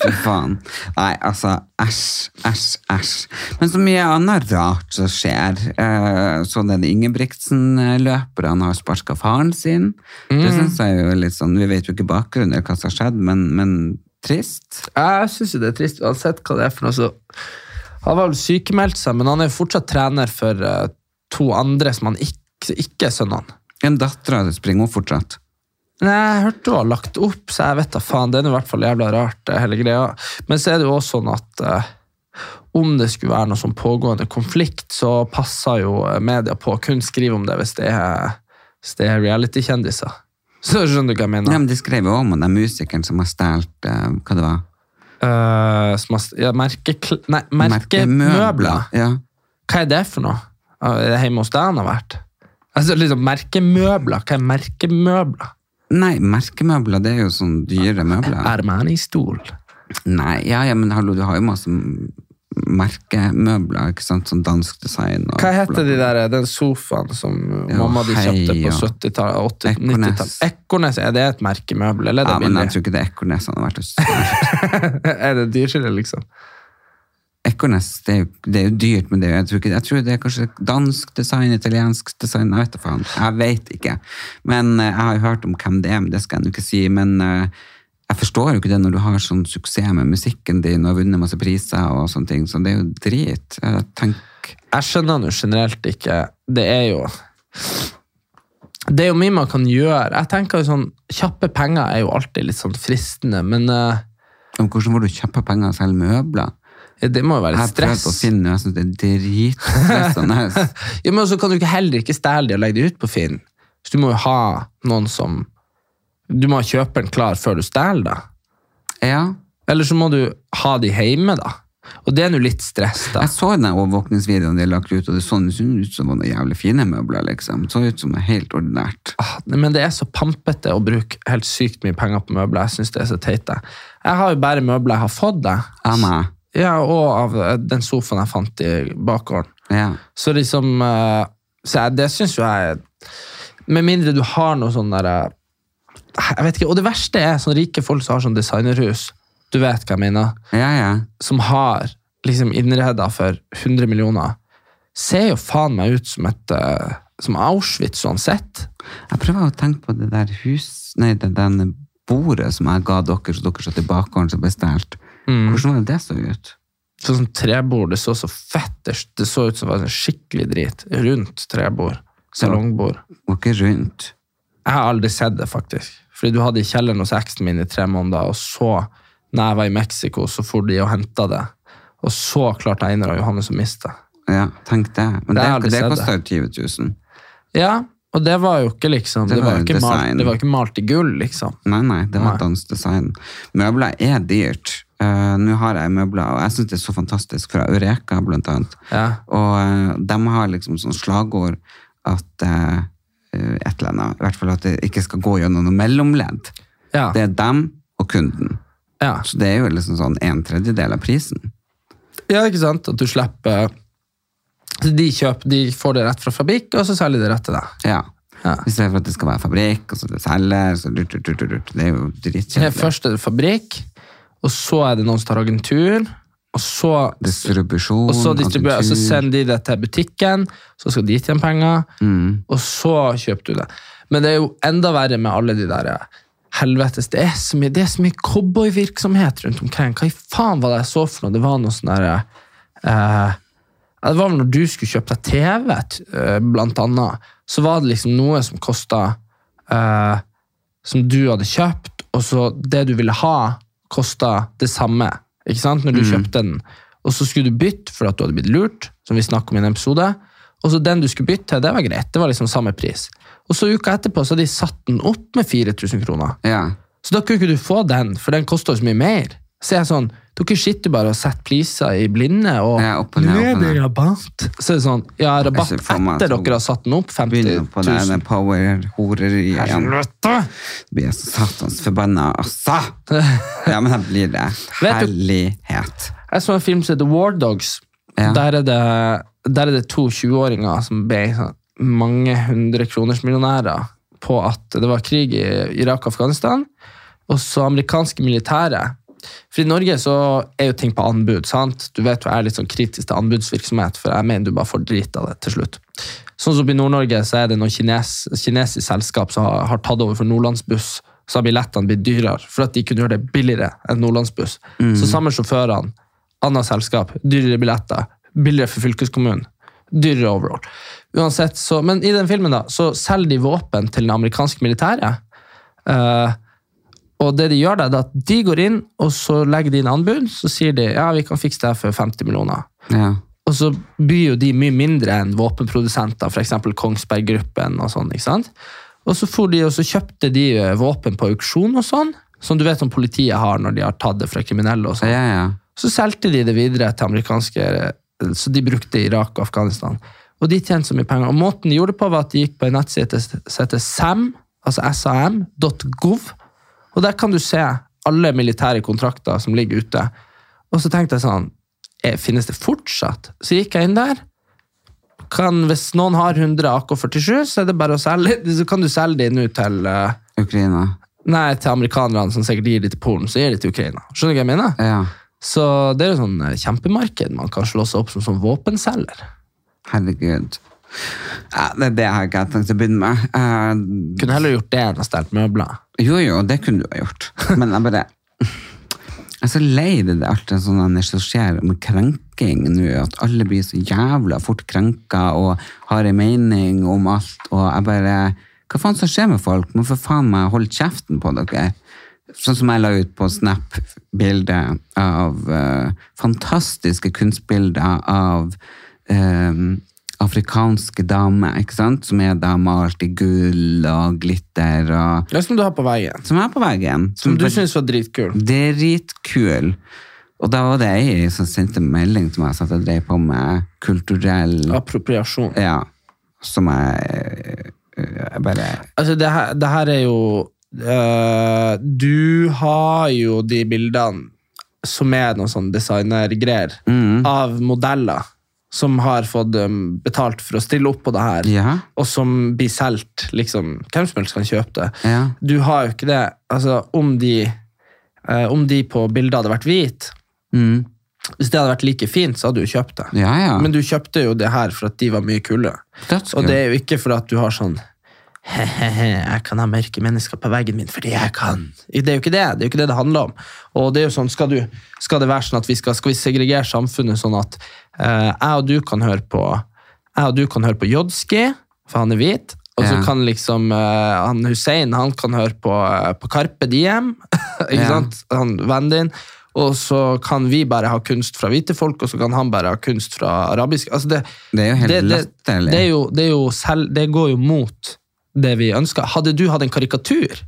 A: Fy faen. Nei, altså, æsj, æsj, æsj. Men så mye annet rart som skjer. Eh, Så den Ingebrigtsen-løperen har sparka faren sin. Det
B: Mm.
A: syns jeg jo er litt sånn Vi vet jo ikke bakgrunnen eller hva som har skjedd, men, men trist.
B: Jeg syns jo det er trist, uansett hva det er for noe. Så han var vel sykemeldt seg, men han er jo fortsatt trener for eh, to andre som han ikke, ikke er sønnene.
A: En datter av det springer hun fortsatt.
B: Nei, jeg hørte hun har lagt opp, så jeg vet da faen. Det er nå i hvert fall jævla rart, det hele greia. Men så er det jo også sånn at eh, om det skulle være noe sånn pågående konflikt, så passer jo eh, media på å kun skrive om det hvis det er, hvis det er reality-kjendiser. *laughs* Så skjønner du hva jeg
A: Ja,
B: mener?
A: men De skrev jo om den musikeren som har stjålet eh, Hva det var?
B: Eh, som har s- ja, merkekl... Nei, merkemøbler.
A: Ja.
B: Hva er det for noe? Er det hjemme hos deg han har vært? Altså, liksom, merkemøbler. Hva er merkemøbler?
A: Nei, merkemøbler, det er jo sånn dyre møbler.
B: Armani-stol.
A: Nei, ja, ja, men hallo, du har jo masse m- merkemøbler, ikke sant? Sånn dansk design. Og
B: Hva heter de der, den sofaen som
A: Ja,
B: mamma di kjøpte
A: hei,
B: på
A: ja.
B: 70-tallet? 80
A: Ekornes.
B: 90-tallet? Ekornes, er det et merkemøbel, eller er
A: Ja,
B: det
A: men jeg
B: billig?
A: tror ikke det er Ekornes han har vært hos.
B: *laughs*
A: *laughs*
B: er det dyrere, liksom?
A: Ekornes, det er, jo, det er jo dyrt, men det er, jo- jeg, tror ikke, jeg tror det er kanskje dansk design, italiensk design, jeg vet da faen. Jeg vet ikke. Men eh, jeg har jo hørt om hvem det er, men det skal jeg jo ikke si. Men eh, jeg forstår jo ikke det når du har sånn suksess med musikken din og har vunnet masse priser og sånne ting, så det er jo drit. Jeg tenker,
B: Jeg skjønner nå generelt ikke Det er jo Det er jo mye man kan gjøre. Jeg tenker jo sånn, Kjappe penger er jo alltid litt sånn fristende, men eh,
A: Om hvordan får du kjappe penger og selge møbler?
B: det må jo
A: Jeg
B: være
A: har
B: litt
A: prøvd
B: stress.
A: å finne, jeg synes det er
B: *laughs*
A: dritstressende.
B: Ja, men så kan du ikke heller ikke stjele de og legge de ut på Finn. Så du må jo ha noen som Du må ha kjøperen klar før du stjeler, da.
A: ja.
B: Eller så må du ha de hjemme, da. Og det er nå litt stress, da.
A: Jeg så den der overvåkningsvideoen de har lagt ut, og det så ut som noen jævlig fine møbler, liksom. Det så ut som noe helt ordinært.
B: Ah, Men det er så pampete å bruke helt sykt mye penger på møbler. Jeg synes det er så teit. jeg. Jeg har jo bare møbler jeg har fått. Da.
A: Av meg.
B: Ja, Og av eh, den sofaen jeg fant i bakgården.
A: Ja.
B: Så liksom eh, så jeg, Det syns jo jeg Med mindre du har noe sånn der eh, Jeg vet ikke. Og det verste er sånne rike folk som har sånn designerhus. Du vet hva jeg mener.
A: Ja, ja.
B: Som har liksom innreda for 100 millioner. Ser jo faen meg ut som et eh, som Auschwitz uansett.
A: Jeg prøver å tenke på det der hus... Nei, det den bordet som jeg ga dere, så dere satt i bakgården som bestilt.
B: Mm.
A: Hvordan var det det så ut?
B: sånn som trebord, det så så fett, det, det så ut som det var sånn skikkelig drit, rundt trebord, salongbord.
A: Og ikke rundt.
B: Jeg har aldri sett det faktisk, fordi du hadde i kjelleren hos eksen min i tre måneder, og så, når jeg var i Meksiko, så for de og hentet det, og så klarte Einar og Johannes å miste.
A: Ja, tenk det. Men
B: Det
A: det,
B: har jeg aldri
A: det,
B: sett,
A: koster 20 000.
B: Ja, og det var jo ikke liksom, det,
A: Det
B: var,
A: var jo
B: ikke malt,
A: design.
B: det var ikke malt i gull, liksom.
A: Nei, nei, det
B: Nei.
A: var dansdesign. Møbler er dyrt. Eh, Nå har jeg møbler, og jeg synes det er så fantastisk fra Eureka, blant annet.
B: Ja.
A: Og eh, de har liksom sånn slagord at eh, et eller annet, i hvert fall at det ikke skal gå gjennom noe mellomledd.
B: Ja,
A: Det er dem og kunden.
B: ja.
A: Så det er jo liksom sånn en tredjedel av prisen.
B: ja, ikke sant, at du slipper, så de kjøper, de får det rett fra fabrikk, og så selger de det rett til deg.
A: Ja.
B: Ja.
A: I stedet for at det skal være fabrikk, og så det selger, så durt, durt, durt, durt. Det er jo
B: Ja,
A: dritkjedelig.
B: først er det fabrikk, og så er det noen som tar agentur, og så,
A: Distribusjon,
B: og så, altså distribuer, og så
A: agentur.
B: sender de det til butikken, så skal de tjene penger, og så kjøper du det. Men det er jo enda verre med alle de der eh, helvetes, det er så mye, det er så mye cowboyvirksomhet rundt omkring. Hva i faen var det jeg så for noe? Det var noe sånn der, eh, ja, det var vel når du skulle kjøpe deg TV, t- eh, blant annet, så var det liksom noe som kostet, eh, som du hadde kjøpt, og så det du ville ha, kosta det samme. Ikke sant? Når du
A: Mm.
B: kjøpte den. Og så skulle du bytte for at du hadde blitt lurt, som vi snakket om i en episode. Og så den du skulle bytte til, det var greit. Det var liksom samme pris. Og så uka etterpå så hadde de satt den opp med 4000 kroner.
A: Ja.
B: Så da kunne ikke du få den, for den kosta jo så mye mer. Så jeg er sånn, dere sitter bare og setter priser i blinde, og
A: Ja, opp og ned,
B: Nå
A: opp
B: er
A: og
B: det
A: ned.
B: rabatt. Så er det sånn, ja, rabatt
A: ser for
B: etter
A: meg at hun
B: dere har satt den opp, 50
A: Begynner på det
B: 000.
A: der power-horeriet igjen.
B: Helvete!
A: blir jeg så satans forbanna, altså! Ja, men da blir det.
B: *laughs* Vet du-
A: Herlighet.
B: Jeg så en film som heter War Dogs.
A: Ja.
B: Der, er det, der er det to 20-åringer som ble sånn mange hundre kroners millionærer på at det var krig i Irak og Afghanistan, og så amerikanske militære. For i Norge så er jo ting på anbud, sant? Du vet jo jeg er litt sånn kritisk til anbudsvirksomhet, for jeg mener du bare får drit av det til slutt. Sånn som i Nord-Norge så er det noen kines, kinesisk selskap som har, har tatt over for Nordlandsbuss, så har billettene blitt dyrere, for at de kunne gjøre det billigere enn Nordlandsbuss. Så samme sjåførene annet selskap, dyrere billetter, billigere for fylkeskommunen, dyrere overall. Uansett, så, men i den filmen da, så selger de våpen til den amerikanske militæret. Eh, og det de gjør da, det er at de går inn, og så legger de inn anbud, så sier de, ja, vi kan fikse det her for 50 millioner.
A: Ja.
B: Og så byr jo de mye mindre enn våpenprodusenter, f.eks. Kongsberg-gruppen og sånn. ikke sant? Og så for de, og så kjøpte de eh, våpen på auksjon og sånn, som du vet om politiet har når de har tatt det fra kriminelle og
A: Ja,
B: sånn.
A: ja.
B: Så solgte de det videre til amerikanske Så de brukte i Irak og Afghanistan. Og de tjente så mye penger. Og måten de gjorde det på, var at de gikk på en nettside som heter SAM, altså sam.gov, og der kan du se alle militære kontrakter som ligger ute. Og så tenkte jeg sånn eh, Finnes det fortsatt? Så gikk jeg inn der. Kan, hvis noen har 100 AK-47, så er det bare å selge *laughs* Så kan du selge de nå til eh,
A: Ukraina.
B: Nei, til amerikanerne, som sikkert gir de til Polen, så gir de til Ukraina. Skjønner du hva jeg mener?
A: Ja.
B: Så det er jo sånn eh, kjempemarked man kan slå seg opp som, som våpenselger.
A: Herregud. Ja, det, det har jeg ikke tenkt å begynne med. Eh,
B: Kunne heller gjort det enn å stjele møbler.
A: jo, jo, det kunne du ha gjort. Men jeg bare *laughs* Jeg er så lei det der alt det sånne som skjer med krenking nå. At alle blir så jævla fort krenka og har en mening om alt. Og jeg bare Hva faen som skjer med folk? Må for faen meg holde kjeften på dere. Sånn som jeg la ut på Snap bilde av eh, fantastiske kunstbilder av eh, afrikanske damer, ikke sant? Som er da malt i gull og glitter og
B: Det er som du har på veggen.
A: Som er på veggen.
B: Som du syns var dritkul.
A: Dritkul. Og da var det ei som sendte melding til meg og sa at jeg drev på med kulturell
B: Appropriasjon.
A: Ja. Som jeg, jeg bare
B: Altså, det her, det her er jo eh, Du har jo de bildene som er noen sånn designergreier av modeller som har fått um, betalt for å stille opp på det her,
A: Ja.
B: og som blir solgt. Liksom, hvem som helst kan kjøpe det.
A: Ja.
B: Du har jo ikke det. Altså, om de, eh, om de på bildet hadde vært hvite
A: Mm.
B: Hvis det hadde vært like fint, så hadde du kjøpt det.
A: Ja, ja.
B: Men du kjøpte jo det her for at de var mye kulere.
A: Dødskult.
B: Og det er jo ikke fordi at du har sånn He-he-he, jeg kan ha mørke mennesker på veggen min fordi jeg kan. Det er jo ikke det det er jo ikke det, det handler om. Og det er jo sånn, Skal, du, skal det være sånn at vi skal, skal vi segregere samfunnet sånn at eh, jeg og du kan høre på jeg og du kan høre på Jodski, for han er hvit, og så
A: Ja.
B: kan liksom eh, han Hussein han kan høre på, eh, på Carpe Diem, *laughs* ikke
A: Ja.
B: sant? Han, vennen din. Og så kan vi bare ha kunst fra hvite folk, og så kan han bare ha kunst fra arabisk. Altså det,
A: Det er jo helt
B: det, det,
A: latterlig.
B: det, er jo, det, er jo selv, det går jo mot det vi ønsker. Hadde du hatt en karikatur,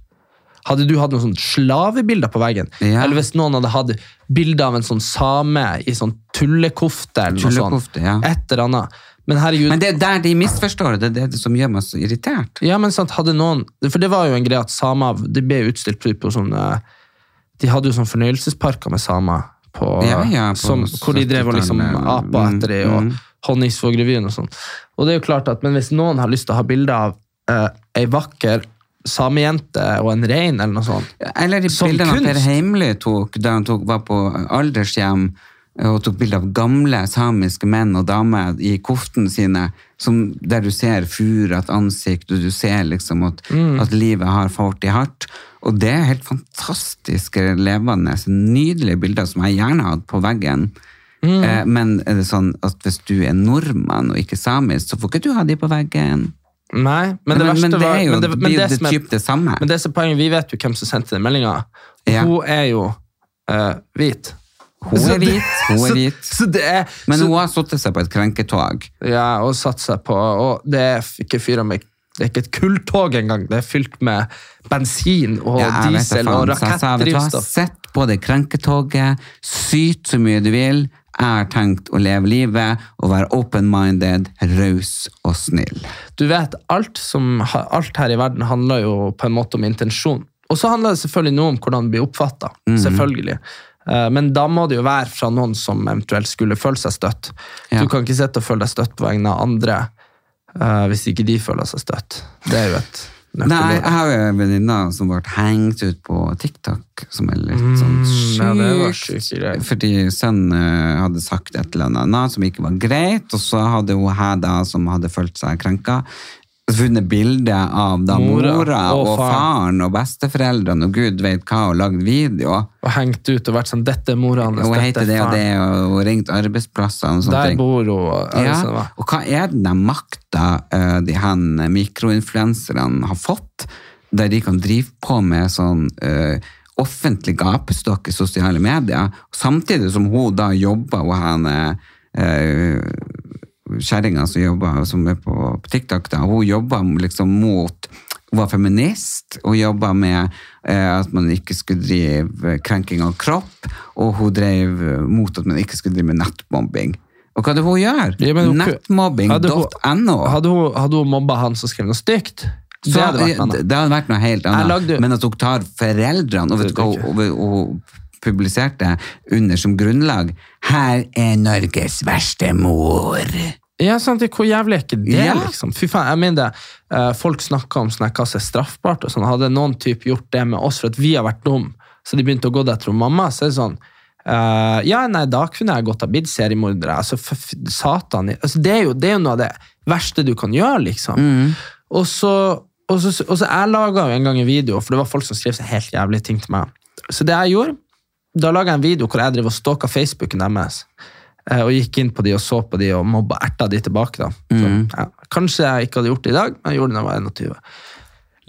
B: hadde du hatt noen sånne slavebilder på veggen,
A: Ja.
B: eller hvis noen hadde hatt bilder av en sånn same i sånn tullekofte, eller noe sånt,
A: Tullekofte, ja.
B: et eller annet. Men herregud,
A: Men det er der de misforstår det. Det er det som gjør meg så irritert.
B: ja, men sant, hadde noen, for det var jo en greie at samer, det ble jo utstilt på- på sånne, de hadde jo sånne fornøyelsesparker med samer, på,
A: Ja, ja, på
B: som, hvor de drev og liksom
A: 70-tallet,
B: apa
A: mm,
B: etter det, og
A: mm.
B: honningsvågrevyen og sånn. Og det er jo klart at, men hvis noen har lyst til å ha bilder av eh, ei vakker samejente og en rein, eller noe sånt,
A: Eller de
B: Som
A: bildene av Per
B: kunst.
A: Heimly tok da han tok, var på aldershjem eh, og tok bilder av gamle samiske menn og damer i koftene sine, som, der du ser furet ansikt, og du ser liksom at,
B: Mm.
A: at livet har fart i hardt. Og det er helt fantastiske, levende, nydelige bilder som jeg gjerne hadde på veggen.
B: Mm.
A: Eh, men er det sånn at hvis du er nordmann og ikke samisk, så får ikke du ha de på veggen.
B: Nei, men det
A: Men-
B: verste
A: men det
B: var
A: er jo-
B: men det,
A: det
B: men
A: blir jo
B: det
A: det
B: som er-
A: typ det samme.
B: Men det som er poenget, vi vet jo hvem som sendte den meldinga.
A: Ja.
B: Hun er jo eh, hvit.
A: Hun
B: Så
A: er
B: det-
A: hvit, hun er hvit.
B: Så, så det er,
A: Men
B: så,
A: hun har satt seg på et krenketog.
B: Ja, og satt seg på Og det er f- ikke fyra med Det er ikke et kulltog engang. Det er fylt med bensin og
A: Ja, jeg vet det,
B: diesel
A: faen.
B: og
A: Så jeg sa, vet du hva,
B: rakettdrivstoff.
A: Sett på det krenketoget, syt så mye du vil. Jeg har tenkt å leve livet og være open-minded, raus og snill.
B: Du vet, alt, som, ha- alt her i verden handler jo på en måte om intensjon. Og så handler det selvfølgelig noe om hvordan det blir oppfatta.
A: Mhm.
B: Selvfølgelig. Eh, Men da må det jo være fra noen som eventuelt skulle føle seg støtt.
A: Ja.
B: Du kan ikke sitte og føle deg støtt på vegne av andre eh, hvis ikke de føler seg støtt. Det er jo et
A: Nei,
B: nøkkelord.
A: jeg har jo en venninne som ble hengt ut på TikTok, som er litt sånn
B: Mm, ja, det var
A: sjukt.
B: syke greier.
A: fordi sønnen eh, hadde sagt et eller annet som ikke var greit, og så hadde hun her da, som hadde følt seg krenka, funnet bilde av da
B: Mora
A: mora,
B: og
A: og,
B: faren.
A: faren og besteforeldrene og gud vet hva, og lagd video.
B: Og hengt ut og vært sånn 'Dette er mora hans'.
A: Hun
B: dette er
A: heter det og
B: faren».
A: det, og hun ringt arbeidsplassene og sånne
B: Der
A: ting.
B: bor hun.
A: Ja,
B: Altså, hva?
A: og hva er den der makta eh, de her mikroinfluenserne har fått, der de kan drive på med sånn eh, offentlig gapestokk i sosiale medier, samtidig som hun da jobber og han eh, kjerringa som jobber som er på, på TikTok, da, hun jobber liksom mot hun var feminist, hun jobba med eh, at man ikke skulle drive krenking av kropp, og hun drev eh, mot at man ikke skulle drive med nettbombing. Og hva er det hun gjør?
B: Ja, men hun- Hadde
A: Nettmobbing.no.
B: hun- Hadde hun, hadde hun mobba han som skrev noe stygt? Det
A: Så
B: hadde vært noe annet.
A: det hadde vært noe helt
B: Jeg
A: annet.
B: lagde-
A: Men at hun tar foreldrene og vet du hva
B: Det er
A: hun, hun publiserte under som grunnlag Her er Norges verste mor.
B: Ja, sant, Hvor jævlig er ikke det,
A: Ja.
B: liksom? Fy faen, jeg mener det. Eh, Folk snakker om sånn her, hva som er straffbart. og sånn. Hadde noen type gjort det med oss for at vi har vært dum, så de begynte å gå etter hun mamma, så er det sånn eh, Ja, nei, da kunne jeg godt ha blitt seriemorder. Altså, for f- satan i- altså, det, er jo, det er jo noe av det verste du kan gjøre, liksom.
A: Mm.
B: Og så, og så, og så Jeg laga jo en gang en video, for det var folk som skrev så helt jævlige ting til meg. Så det jeg gjorde, da laga jeg en video hvor jeg drev og stalka Facebooken deres. eh, Og gikk inn på de og så på de og mobba erta de tilbake. da. Så, ja, kanskje jeg ikke hadde gjort det i dag, men jeg gjorde det da jeg var 21.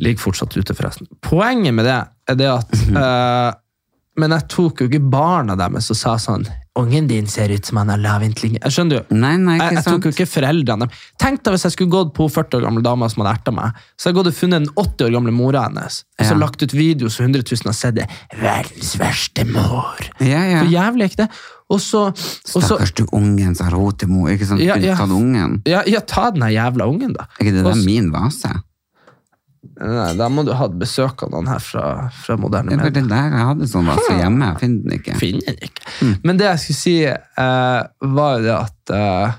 B: Ligger fortsatt ute, forresten. Poenget med det er det at eh, Men jeg tok jo ikke barna deres og sa sånn Ungen din ser ut som han har lav intelligens. Jeg Skjønner du?
A: Nei, nei,
B: jeg,
A: ikke
B: jeg tok jo
A: sant?
B: ikke foreldrene. Tenk deg hvis jeg skulle gått på hun 40 år gamle dama som hadde erta meg. Så jeg gått og funnet den 80 år gamle mora hennes og så
A: Ja.
B: lagt ut video så 100 000 har sett det. Verdens verste mor.
A: Ja, ja.
B: Så jævlig er ikke det? Og så, og så
A: Stakkars du ungen som har rot i mo, ikke sant?
B: Ja,
A: Kunne
B: ja.
A: tatt ungen.
B: ja, ja, ta den her jævla ungen, da.
A: Er ikke det
B: Og
A: der
B: så-
A: min vase?
B: Nei, da må du ha besøk av noen her fra, fra moderne
A: Det var
B: medier.
A: det der jeg hadde sånn vase hjemme, jeg finner den ikke.
B: Finner den ikke.
A: Mm.
B: Men det jeg skulle si, eh, var jo det at eh,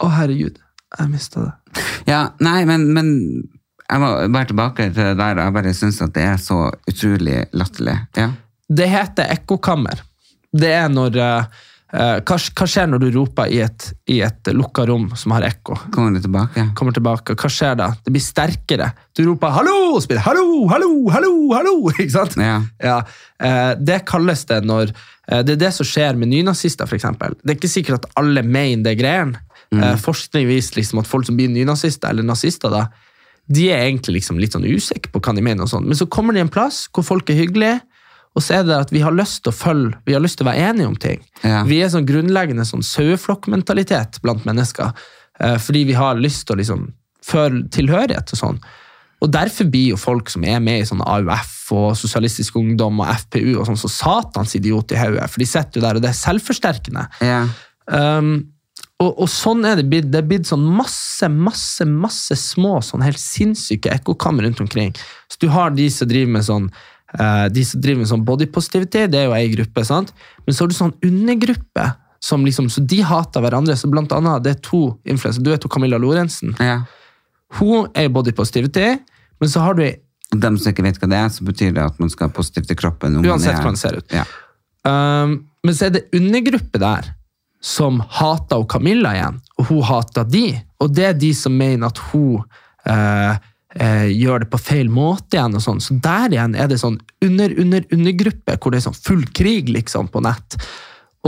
B: Å, herregud, jeg mista det.
A: Ja, nei, men, men jeg må bare tilbake til det der, jeg bare synes at det er så utrolig latterlig. Ja.
B: Det heter ekkokammer. Det er når eh, eh, hva, hva skjer når du roper i et, i et lukka rom som har ekko?
A: Kommer du tilbake?
B: Kommer tilbake, hva skjer da? Det blir sterkere. Du roper 'hallo!' og spiller 'hallo, hallo, hallo'. hallo, *laughs* ikke sant?
A: Ja.
B: Ja, eh, Det kalles det når eh, Det er det som skjer med nynazister, f.eks. Det er ikke sikkert at alle mener det greien. Eh, Forskning viser liksom at folk som blir nynazister, eller nazister, da, de er egentlig liksom litt sånn usikre på hva de mener. og sånn. Men så kommer de en plass hvor folk er hyggelige, og så er det at vi har lyst til å følge, vi har lyst til å være enige om ting.
A: Ja.
B: Vi er sånn grunnleggende sånn saueflokkmentalitet blant mennesker, eh, fordi vi har lyst til å liksom føle tilhørighet og sånn. Og derfor blir jo folk som er med i sånn AUF og Sosialistisk Ungdom og FPU og sånn, så satans idiot i hodet, for de sitter jo der, og det er selvforsterkende.
A: Ja.
B: Um, og, og sånn er det blitt. Det er blitt sånn masse, masse, masse små, sånn helt sinnssyke ekkokammer rundt omkring. Så du har de som driver med sånn eh, de som driver med sånn body positivity, det er jo ei gruppe, sant? men så har du sånn undergruppe. Som liksom, så De hater hverandre. så blant annet, Det er to influensere. Du vet jo Camilla Lorentzen.
A: ja.
B: Hun er jo body positivity, men så har du ei
A: Og dem som ikke vet hva det er, så betyr det at man skal ha positivt til kroppen. om man
B: Uansett
A: er-
B: hvordan det ser ut.
A: Ja.
B: Um, men så er det undergruppe der som hater hun Camilla igjen, og hun hater de. Og det er de som mener at hun eh, eh, gjør det på feil måte igjen. og sånn. Så der igjen er det sånn under, under, undergruppe, hvor det er sånn full krig liksom på nett.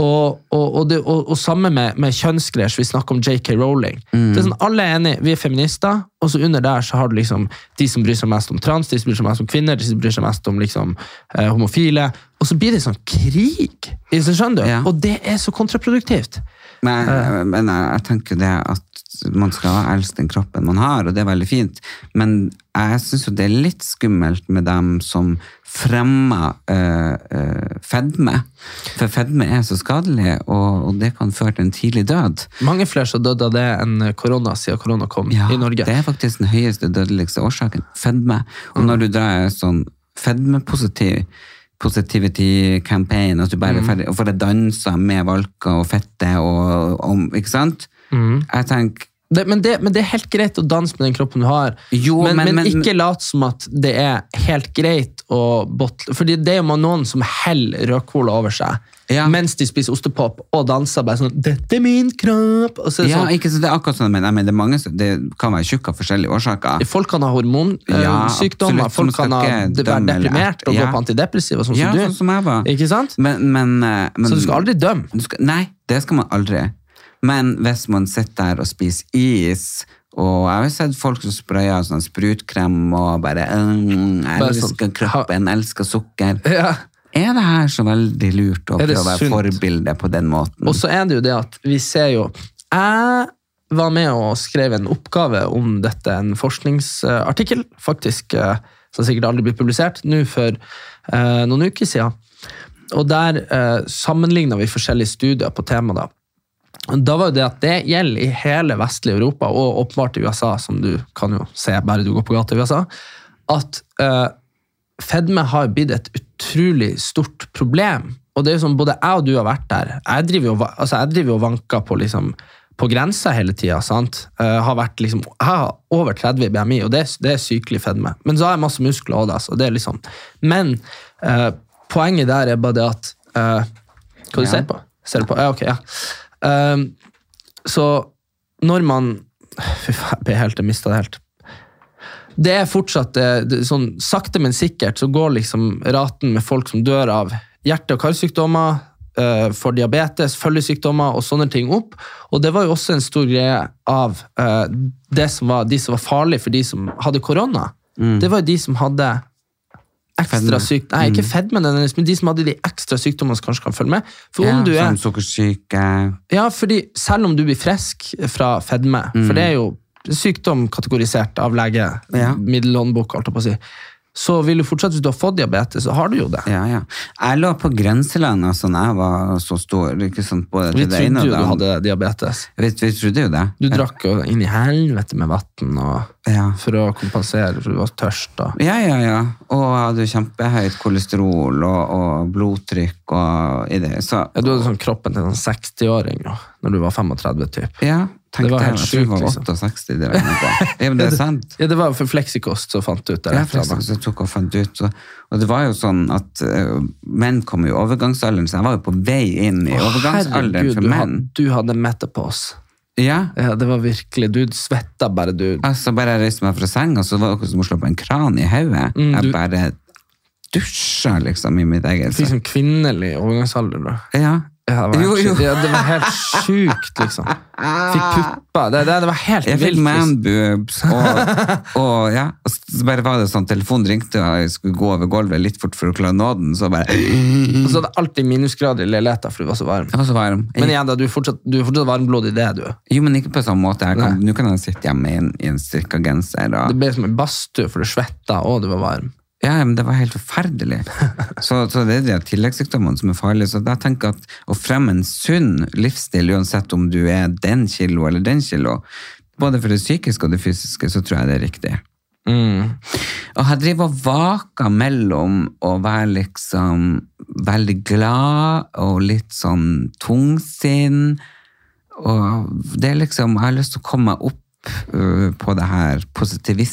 B: Og, og, og, det, og, og samme med, med kjønnsgreier, så vi snakker om JK Rowling.
A: Mm.
B: Det er sånn, Alle er enige, vi er feminister, og så under der så har du liksom de som bryr seg mest om trans, de som bryr seg mest om kvinner, de som bryr seg mest om liksom, eh, homofile. Og så blir det sånn krig! Hvis du skjønner du?
A: Ja.
B: Og det er så kontraproduktivt.
A: Men, men jeg, jeg tenker det at man skal elske den kroppen man har, og det er veldig fint. Men jeg syns jo det er litt skummelt med dem som fremmer øh, øh, fedme. For fedme er så skadelig, og, og det kan føre til en tidlig død.
B: Mange flere som døde av det enn korona siden korona kom
A: Ja,
B: i Norge.
A: Det er faktisk den høyeste dødeligste årsaken. Fedme. Og når du
B: Mm.
A: drar en sånn fedmepositiv positivity campaign, at du bare
B: Mm.
A: er ferdig, og får det danser med valker og fette og om, ikke sant? Jeg tenker,
B: Mm. Det, men, det, men det er helt greit å danse med den kroppen du har,
A: Jo,
B: men,
A: men-
B: men,
A: men-
B: ikke lat som at det er helt greit å botle. Fordi det er jo noen som heller rødcola over seg
A: Ja.
B: mens de spiser ostepop og danser bare sånn 'Dette er min kropp!' Og så er det
A: ja,
B: sånn,
A: ikke så det er akkurat sånn, men, jeg mener, det, er mange, som- det kan være tjukke av forskjellige årsaker.
B: Folk kan ha
A: Ja,
B: hormonsykdommer,
A: absolutt,
B: folk
A: som
B: kan ha,
A: skal ikke
B: de- være
A: dømme, eller-
B: deprimert og
A: Ja.
B: gå på antidepressiva, sånn
A: Ja,
B: som du.
A: sånn som jeg var.
B: Ikke sant?
A: Men, men, eh, men,
B: Så du skal aldri dømme.
A: Du skal, nei, det skal man aldri. Men hvis man sitter der og spiser is, og jeg har jo sett folk som sprayer sånn sprutkrem og bare mm,
B: Bare
A: elsker
B: sånn,
A: kroppen, elsker sukker.
B: Ja.
A: Er det her så veldig lurt å
B: Er det
A: prøve å være
B: sunt?
A: forbilde på den måten?
B: Og så er det jo det at vi ser jo Jeg var med og skrev en oppgave om dette, en forskningsartikkel, faktisk, eh, som sikkert aldri blir publisert, nå for eh, noen uker siden. Og der eh, sammenligna vi forskjellige studier på temaet. da. Da var jo det at det gjelder i hele vestlige Europa, og åpenbart i USA, som du kan jo se bare du går på gata i USA, at eh, fedme har blitt et utrolig stort problem. Og det er jo sånn, Både jeg og du har vært der. Jeg driver jo, va- altså jeg driver jo og vanker på, liksom, på grensa hele tida. Uh, har vært liksom, jeg har over 30 i BMI, og det, er- det er sykelig fedme. Men så har jeg masse muskler også, da, så det er liksom. Men eh, poenget der er bare det at eh, Hva du
A: Ja.
B: ser på? Ser du på? Ja, ok, ja. Eh, så når man Fy faen, jeg ble helt, jeg mistet det helt. Det er fortsatt eh, det- sånn sakte, men sikkert så går liksom raten med folk som dør av hjerte- og karsykdommer, eh, for diabetes, følgesykdommer og sånne ting opp. Og det var jo også en stor greie av eh, det som var, de som var farlige for de som hadde korona. det var jo de som hadde ekstra
A: Mm. Fedme. Mm.
B: syk... Nei, ikke fedme, nødvendigvis, men de som hadde de ekstra sykdommene som kanskje kan følge med. For om
A: Ja,
B: du er
A: Sånn sukkersyke
B: ja, fordi selv om du blir frisk fra fedme, for det er jo sykdom kategorisert av lege,
A: Ja.
B: middelhåndbok, alt jeg på å si, så vil du fortsatt, hvis du har fått diabetes, så har du jo det.
A: ja, ja. Jeg lå på grenseland altså, når jeg var så stor. Ikke sant, både
B: Vi
A: til det ene
B: trodde jo
A: og det
B: du
A: andre.
B: hadde diabetes.
A: Vi, vi trodde jo det.
B: Du drakk jo inn i helvete med vann og
A: Ja.
B: for å kompensere, for du var tørst. Og.
A: Ja, ja, ja. Og jeg hadde jo kjempehøyt kolesterol og, og blodtrykk og i det. Så
B: Ja, du hadde sånn kroppen til en sånn 60-åring nå, når du var 35, typ.
A: ja, tenkte
B: Det var helt
A: jeg, jeg tror jeg var
B: sjukt, liksom.
A: 68 det regnet på. Ja, men det er sant.
B: Ja, det var jo for fleksikost som fant du ut det.
A: Ja,
B: rett fra da.
A: faktisk, så tok jeg og fant ut. så- Og det var jo sånn at eh, menn kom i overgangsalderen, så jeg var jo på vei inn i overgangsalderen
B: Herregud,
A: for
B: du
A: menn.
B: hadde, du hadde metapose.
A: Ja,
B: Ja, det var virkelig, du svetta bare, du
A: Altså, bare jeg reiste meg fra senga, så var det akkurat som å slå på en kran i
B: Mm,
A: hodet.
B: du-
A: Jeg bare dusja liksom i mitt eget
B: Fikk sånn kvinnelig overgangsalder, da.
A: Ja.
B: Ja, det, var
A: Jo,
B: helt,
A: jo.
B: sykt. Ja, det var helt sjukt, liksom. Fikk pupper. Det, det, det var helt
A: Jeg fikk
B: vilt. liksom.
A: manboobs,
B: *laughs*
A: og, og ja, og så bare var det sånn, telefonen ringte, og jeg skulle gå over gulvet litt fort for å klare å nå den, så bare, jeg
B: liksom. Og så hadde jeg alltid minusgrader i leiligheten, for du var så varm.
A: var så varm.
B: Men
A: Jeg,
B: igjen, da, du er fortsatt, du er fortsatt varmblodig, det er du.
A: jo, men ikke på samme måte. Jeg kan, nå kan jeg sitte hjemme i en, i en strikka genser,
B: Det
A: og
B: ble som en badstue, for du svetta, og du var varm.
A: ja, men det var helt forferdelig.
B: *laughs*
A: Så, så det er de tilleggssykdommene som er farlige, så da tenker jeg at å fremme en sunn livsstil, uansett om du er den kilo eller den kilo, både for det psykiske og det fysiske, så tror jeg det er riktig. Mm. Og jeg driver og vaker mellom å være liksom veldig glad og litt sånn tungsinn. Og det er liksom, jeg har lyst til å komme meg opp øh, på det her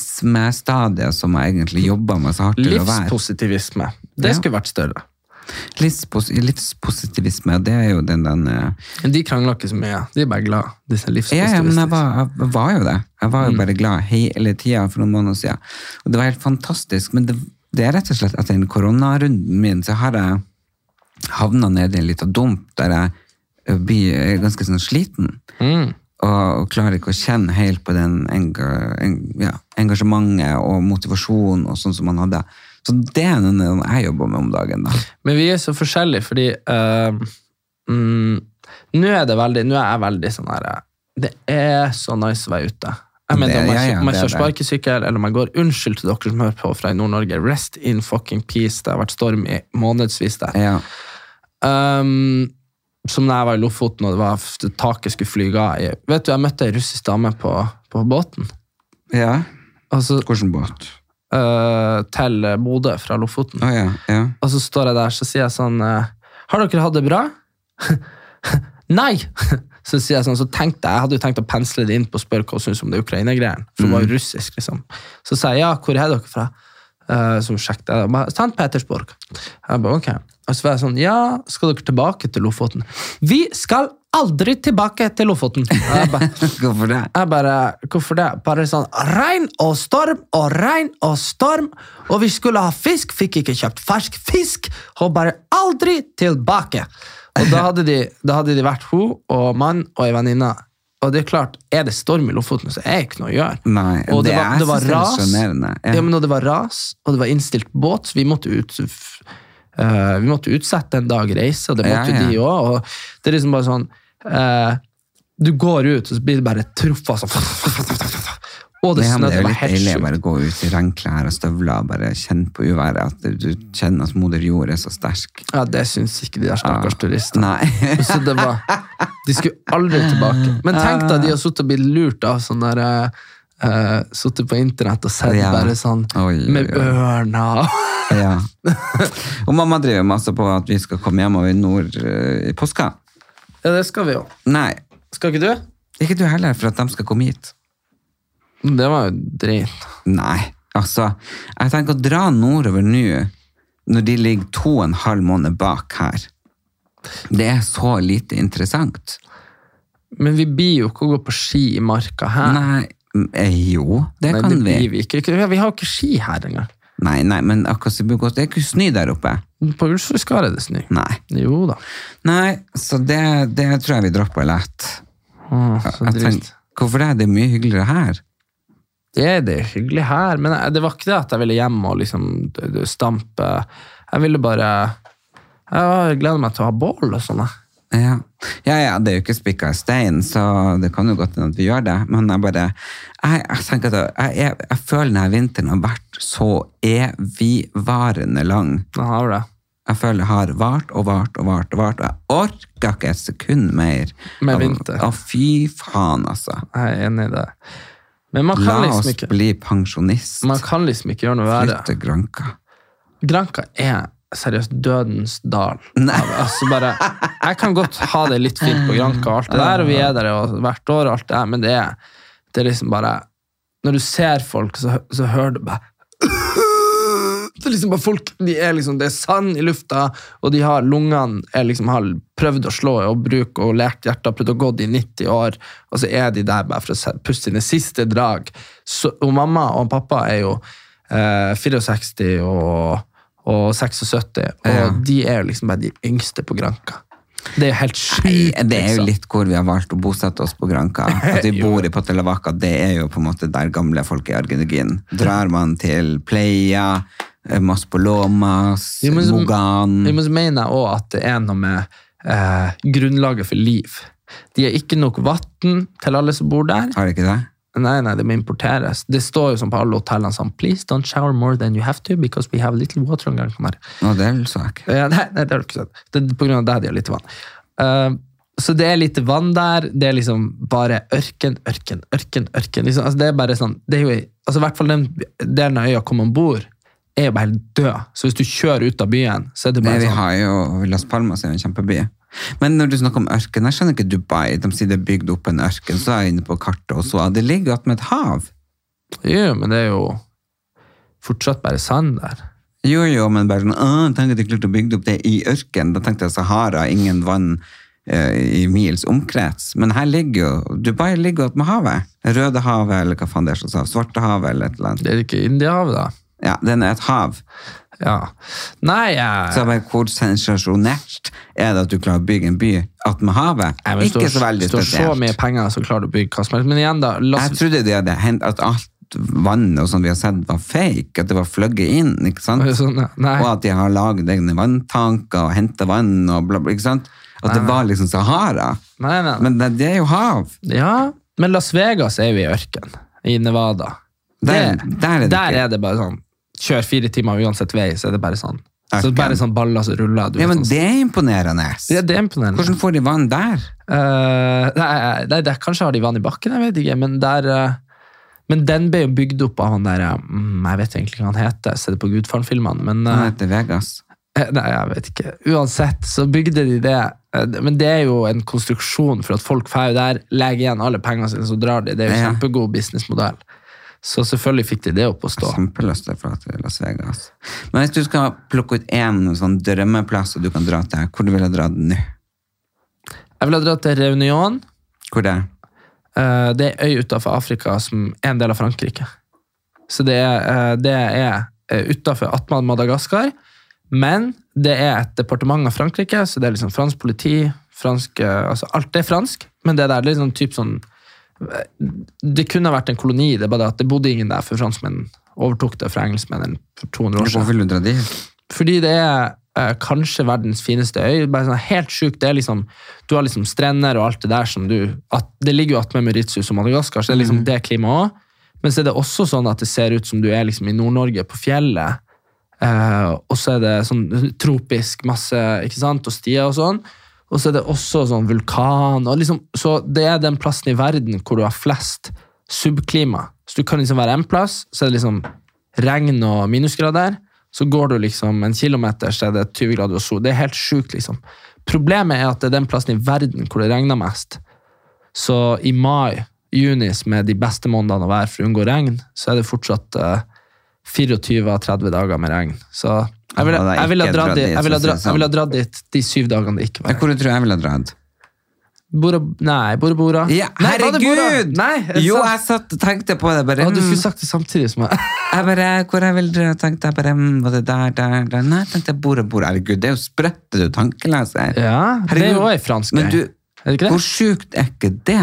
A: positivismestadiet som jeg egentlig jobber med så hardt til å være.
B: Livspositivisme. Det
A: Ja.
B: skulle vært større.
A: Livspos livspositivisme, det er jo den den øh,
B: Men de krangler ikke så mye. De er bare glad, disse
A: Ja, ja, men jeg
B: livspositivistiske.
A: var, jeg var jo det. Jeg var jo bare glad hele tida for noen måneder siden. Og det var helt fantastisk. Men det, det er rett og slett etter den koronarunden min, så har jeg havna nede i en liten dump der jeg eh, blir ganske sånn sliten. Og klarer ikke å kjenne helt på den enga- en- ja, engasjementet og motivasjonen og sånn som man hadde. Så det er den jeg jobber med om dagen, da.
B: Men vi er så forskjellige, fordi eh, mm, Nå er det veldig Nå er jeg veldig sånn her eh, Det er så nice å være ute. Jeg mener,
A: Det-
B: Om jeg,
A: ja, ja,
B: om jeg
A: det er
B: kjører sparkesykkel eller om jeg går Unnskyld til dere som hører på fra i Nord-Norge. Rest in fucking peace. Det har vært storm i månedsvis der.
A: Ja.
B: Um, som da jeg var i Lofoten og det var det taket skulle flyge av. i. Vet du, Jeg møtte ei russisk dame på, på båten.
A: ja.
B: Altså,
A: Hvilken båt?
B: eh, til Bodø fra Lofoten.
A: Å ja. ja. *laughs*
B: Og så står jeg der, så sier jeg sånn eh, Har dere hatt det bra? *laughs* Nei! *laughs* Så sier jeg sånn, så tenkte jeg, jeg hadde jo tenkt å pensle det inn på å spørre hva hun syntes om det Ukraina-greien. For hun var jo russisk, liksom. Så sier jeg ja, hvor er dere fra? Eh, så hun sjekket jeg. og bare, St. Petersburg. Jeg bare, ok. Og så var jeg sånn, ja, skal dere tilbake til Lofoten? Vi skal aldri tilbake til Lofoten! Jeg bare,
A: Hvorfor det?
B: jeg bare, hvorfor det? Bare sånn, regn og storm og regn og storm, og vi skulle ha fisk, fikk ikke kjøpt fersk fisk, og bare aldri tilbake. Og da hadde de, da hadde de vært hun og mann og en venninne. Og det er klart, er det storm i Lofoten, så er det ikke noe å gjøre.
A: Nei,
B: og det,
A: det
B: var,
A: er-
B: det var
A: jeg synes
B: ras,
A: det er sjarmerende,
B: ja.
A: ja.
B: men og det var ras, og det var innstilt båt, så vi måtte ut... f- eh, vi måtte utsette en dag reise, og det måtte
A: Ja, ja.
B: de også. Og det er liksom bare sånn... eh, du går ut, og så blir det bare truffa sånn. Og det
A: Ja, men
B: snødde
A: det er jo
B: bare
A: litt
B: helt
A: deilig å
B: sjukt.
A: bare gå ut i regnklær og støvler og bare kjenne på uværet. At du- du kjenner at moder jord er så sterk.
B: Ja, det syns ikke de der stakkars turistene.
A: Ah, Nei.
B: Så det var, de skulle aldri tilbake. Men tenk deg, de har sittet og blitt lurt av sånn der uh, Sittet på internett og sett
A: Ja.
B: bare sånn
A: Oi, oi,
B: med
A: oi.
B: ørna *laughs*
A: Ja. *laughs* Og mamma driver masse på at vi skal komme hjem over nord eh, i påska.
B: Ja, det skal vi jo.
A: Nei,
B: Skal ikke du?
A: ikke du heller, for at de skal komme hit.
B: Det var jo drit.
A: Nei, altså. Jeg tenker å dra nordover nå, når de ligger to og en halv måned bak her. Det er så lite interessant.
B: Men vi blir jo ikke å gå på ski i marka her.
A: Nei, eh, jo, det
B: Nei,
A: kan
B: det
A: vi.
B: blir vi ikke. Vi har jo ikke ski her engang.
A: Nei, nei, men akkurat så blir det godt. Det er ikke snø der oppe.
B: På Ulsfjordskaret er det snø.
A: Nei.
B: Jo da.
A: Nei, så det, det tror jeg vi dropper lett.
B: Å, så
A: Jeg
B: drit.
A: tenker, hvorfor det? Det er mye hyggeligere her.
B: Ja, det er hyggelig her, men jeg- det var ikke det at jeg ville hjem og liksom d- d- stampe. Jeg ville bare Jeg gleder meg til å ha bål og sånn. jeg.
A: Ja. ja, ja, det er jo ikke spikka i stein, så det kan jo godt hende at vi gjør det. Men jeg bare Jeg, jeg tenker at jeg, jeg, jeg føler denne vinteren har vært så evigvarende lang.
B: Da har vi det.
A: Jeg føler det har vart og vart og vart. Og vart, og jeg orker ikke et sekund mer.
B: Med
A: av-
B: vinter.
A: Å, fy faen, altså.
B: Jeg er enig i det. Men man
A: La
B: kan
A: oss
B: liksom ikke,
A: bli pensjonist.
B: man kan liksom ikke gjøre noe verre.
A: Flytte Granka.
B: Granka er seriøst dødens dal.
A: Nei.
B: Altså bare, jeg kan godt ha det litt fint på Granka, og alt det der, og vi er der jo hvert år, og alt det der, men det er, det er liksom bare Når du ser folk, så, så hører du bare *coughs* det er liksom bare folk, de er liksom, Det er sand i lufta, og de har lungene er liksom, har prøvd å slå og bruke og lært hjertet, prøvd å gå de 90 år, og så er de der bare for å se- puste sine siste drag. Så, og mamma og pappa er jo eh, 64 og, og 76, og
A: Ja.
B: de er jo liksom bare de yngste på Granka. Det er jo helt
A: Nei,
B: sjukt.
A: Det er jo
B: liksom.
A: litt hvor vi har valgt å bosette oss på Granka. At
B: *laughs*
A: vi bor i Patelavaca, det er jo på en måte der gamle folk i Argentin. Drar man til Pleia, eh, Maspolomas,
B: Jo, men så-
A: Mogan
B: Jo, men så mener jeg også at det er noe med eh, grunnlaget for liv. De har ikke nok vann til alle som bor der.
A: Har det ikke det?
B: Nei, nei, det må importeres. Det står jo sånn på alle hotellene sånn, please don't shower more than you have to, because we have little water on Gran Canaria.
A: Nå, det så jeg ikke.
B: Ja, nei, nei, det har du ikke sett. Det er på grunn av deg de har lite vann. Eh, så det er lite vann der, det er liksom bare ørken, ørken, ørken, ørken. Liksom, altså det er bare sånn, det er jo, altså i hvert fall den delen av øya hvor man bor, er jo bare helt død. Så hvis du kjører ut av byen, så er det
A: Nei,
B: bare
A: vi
B: sånn.
A: har jo Las Palmas er jo en kjempeby. Men når du snakker om ørken, jeg skjønner ikke Dubai. De sier det er bygd opp en ørken, så er jeg inne på kartet og så. Det ligger jo attmed et hav.
B: Jo, men det er jo fortsatt bare sand der.
A: Jo, jo, men bare sånn, «Åh, tenk at de klarte å bygge opp det i ørken. Da tenkte jeg Sahara, ingen vann eh, i mils omkrets. Men her ligger jo, Dubai ligger jo opp med havet. Røde havet, eller hva faen det er som sa, svarte havet, eller et eller annet.
B: Det er jo ikke Indiahavet da.
A: Ja, den er et hav.
B: Ja. Nei, jeg...
A: Så jeg bare, hvor sensasjonelt er det at du klarer å bygge en by opp med havet?
B: Nei, men
A: Ikke
B: står-
A: så veldig
B: står så mye
A: spesielt.
B: penger, så klarer du å bygge hva som helst. Men igjen, da. La
A: Jeg
B: oss,
A: trodde det hadde hendt at alt vann og sånn vi har sett var fake, at det var fløgget inn, ikke sant?
B: *laughs* sånn, ja. nei,
A: Og at de har laget egne vanntanker og hentet vann og bla, bla, ikke sant? At det var liksom Sahara.
B: nei, nei, nei.
A: Men det, det er jo hav.
B: Ja, men Las Vegas er jo i ørken. I Nevada.
A: Der- der er det
B: der
A: ikke.
B: er det bare sånn Kjør fire timer uansett vei, så er det bare sånn. Så
A: Ørken.
B: det er bare sånn baller som ruller. Du
A: Ja,
B: vet,
A: men
B: sånn.
A: det er imponerende.
B: ja, det er imponerende.
A: Hvordan får de vann der?
B: Eh, nei, nei, det, kanskje har de vann i bakken, jeg vet ikke. Men, der, eh, men den ble jo bygd opp av han der eh, mm, Jeg vet egentlig ikke hva han heter, jeg ser det på Gudfaren-filmene. Men
A: Han
B: eh,
A: heter Vegas.
B: Eh, Nei, jeg vet ikke. Uansett så bygde de det. Eh, Men det er jo en konstruksjon for at folk får jo der, legger igjen alle pengene sine, så drar de. Det er jo
A: Ja.
B: kjempegod businessmodell. Så selvfølgelig fikk de det opp å stå.
A: Kjempelyst til å dra til Las Vegas. Men hvis du skal plukke ut én sånn drømmeplass du kan dra til, hvor du ville dra den nå?
B: Jeg ville ha dratt til Reunion.
A: Hvor det?
B: Eh, Det er øy utenfor Afrika som er en del av Frankrike. Så det er, eh, det er eh, utenfor Atman Madagaskar, men det er et departement av Frankrike, så det er liksom fransk politi, fransk, eh, altså alt er fransk, men det der er liksom typ sånn, eh, det kunne ha vært en koloni, det er bare det at det bodde ingen der, for franskmenn overtok det fra engelskmenn for 200 år
A: Hvor
B: siden.
A: vil du dra dit?
B: Fordi det er eh, kanskje verdens fineste øy. Bare sånn helt sjukt. Det er liksom, du har liksom strender og alt det der som du at, Det ligger jo attmed Mauritius og Madagaskar, så det er liksom det klimaet òg. Men så er det også sånn at det ser ut som du er liksom i Nord-Norge, på fjellet. Eh, og så er det sånn tropisk masse ikke sant, og stier og sånn. Og så er det også sånn vulkan. Og liksom, så det er den plassen i verden hvor du har flest subklima. Så du kan liksom være en plass, så er det liksom regn og minusgrader. Så går du liksom en kilometer, så er det 20 grader og sol. Det er helt sjukt, liksom. Problemet er at det er den plassen i verden hvor det regner mest. Så i mai, juni, som er de beste månedene å være for å unngå regn, så er det fortsatt eh, 24 av 30 dager med regn. Så jeg ville
A: Ja, det er
B: jeg ville ha
A: ikke
B: dratt
A: dratt
B: dit-
A: dit,
B: jeg ville ha
A: for å si
B: dra-
A: det
B: jeg ville ha
A: sånn.
B: dratt dit de syv dagene det ikke var regn.
A: Hvor du tror jeg ville dratt?
B: Bora, nei, Bora Bora.
A: Ja,
B: Nei, var det Bora?
A: herregud!
B: Nei, jeg
A: jo,
B: sa-
A: jeg satt og tenkte på det. bare,
B: Å, du
A: mm.
B: skulle sagt det samtidig som meg.
A: Jeg bare, hvor jeg vil dra, tenkte jeg bare, mm, var det der, der, der? Nei, tenkte jeg, bor og bor, herregud, det er jo sprøtte du tankeleser.
B: *laughs* Ja, det er jo også en fransk
A: Men
B: greie.
A: du,
B: Er det ikke det?
A: hvor sjukt er ikke det?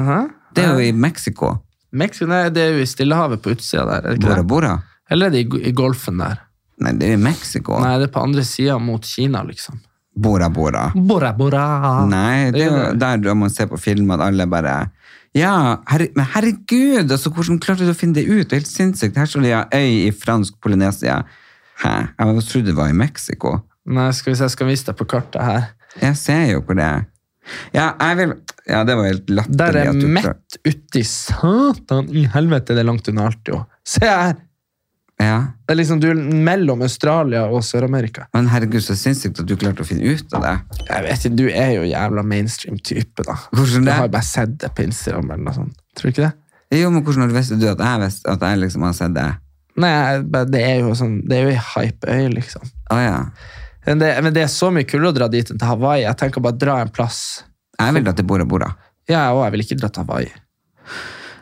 B: Aha.
A: Det er jo i Meksiko.
B: Mexico, nei, det er jo i Stillehavet på utsida der. Er det ikke
A: Bora
B: det?
A: Bora?
B: Eller er det i, gu- i Golfen der?
A: Nei, det er jo Mexico.
B: Nei, det er på andre sida mot Kina, liksom.
A: Bora Bora.
B: Bora, bora.
A: Nei, det er jo
B: det.
A: der man ser på film at alle bare Ja, herre- men herregud, altså hvordan klarte du å finne det ut? Det er helt sinnssykt. Her står det ja, øy i fransk Polynesia. Hæ? Jeg trodde det var i Mexico.
B: Nei, skal vi se, jeg skal vise deg på kartet her.
A: Jeg ser jo hvor det er. Ja, jeg vil Ja, det var helt latterlig.
B: Der er
A: at du prøv-
B: mett uti satan i helvete, det er langt unna alt, jo. Se her!
A: Ja.
B: Det er liksom du er mellom Australia og Sør-Amerika.
A: Men herregud, så sinnssykt at du klarte å finne ut av det.
B: Jeg vet ikke, Du er jo jævla mainstream-type, da.
A: Hvordan det?
B: Jeg har jo bare sett det på Instagram eller noe sånt. Tror du ikke det?
A: Jo, men hvordan visste du at jeg, visste, at jeg liksom har sett det?
B: Nei, jeg bare- det er jo sånn, det er jo ei hype-øy, liksom.
A: Å ja.
B: Men det, men det er så mye kulere å dra dit enn til Hawaii. Jeg tenker bare dra en plass.
A: Jeg vil dra til Bora Bora.
B: Ja, og jeg vil ikke dra til Hawaii.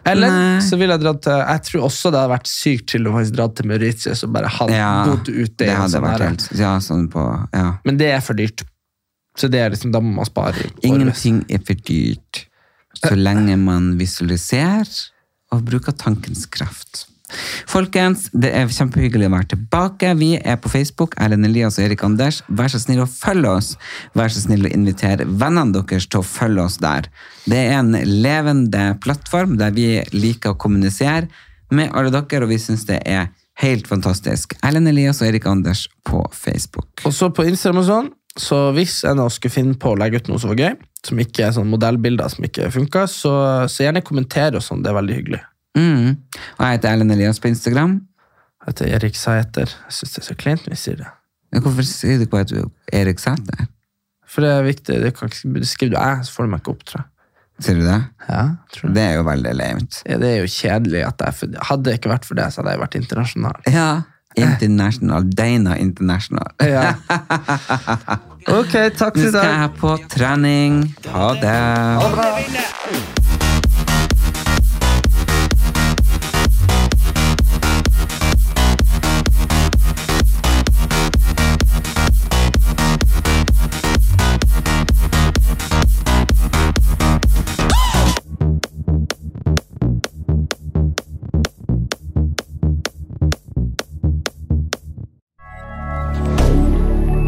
B: Eller
A: Nei.
B: så vil jeg dra til Jeg tror også det hadde vært sykt til å faktisk dra til Mauritius og bare hadde
A: Ja,
B: bodd ute. i
A: det
B: en
A: hadde
B: sånn
A: vært
B: her-
A: helt Ja, sånn på Ja.
B: Men det er for dyrt. Så det er liksom, da må man spare. i året.
A: Ingenting er for dyrt så lenge man visualiserer og bruker tankens kraft. Folkens, det er kjempehyggelig å være tilbake. Vi er på Facebook. Erlend Elias og Erik Anders. Vær så snill å følge oss. Vær så snill å invitere vennene deres til å følge oss der. Det er en levende plattform der vi liker å kommunisere med alle dere, og vi syns det er helt fantastisk. Erlend Elias og Erik Anders på Facebook.
B: Og så på Instagram og sånn, så hvis en av oss skulle finne på å legge ut noe som var gøy, som ikke er sånn modellbilder som ikke funker, så, så gjerne kommenter og sånn, det er veldig hyggelig.
A: Mm. Og jeg heter Erlend Elias på Instagram.
B: Jeg heter Erik Sæter. Jeg synes det er så kleint når vi sier det.
A: Men hvorfor sier du ikke at du er Erik Sæter?
B: For det er viktig, det kan ikke, skriver du æ, så får du meg ikke opp, tror jeg.
A: Sier du det?
B: Ja, tror jeg.
A: Det er jo veldig lame.
B: Ja, det er jo kjedelig at jeg, for hadde det ikke vært for det, så hadde jeg vært internasjonal.
A: Ja. International. Dana International.
B: Ja. *laughs* Ok, takk for
A: Nå
B: i
A: skal
B: dag.
A: jeg på trening. Ha det.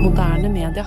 C: Moderne media.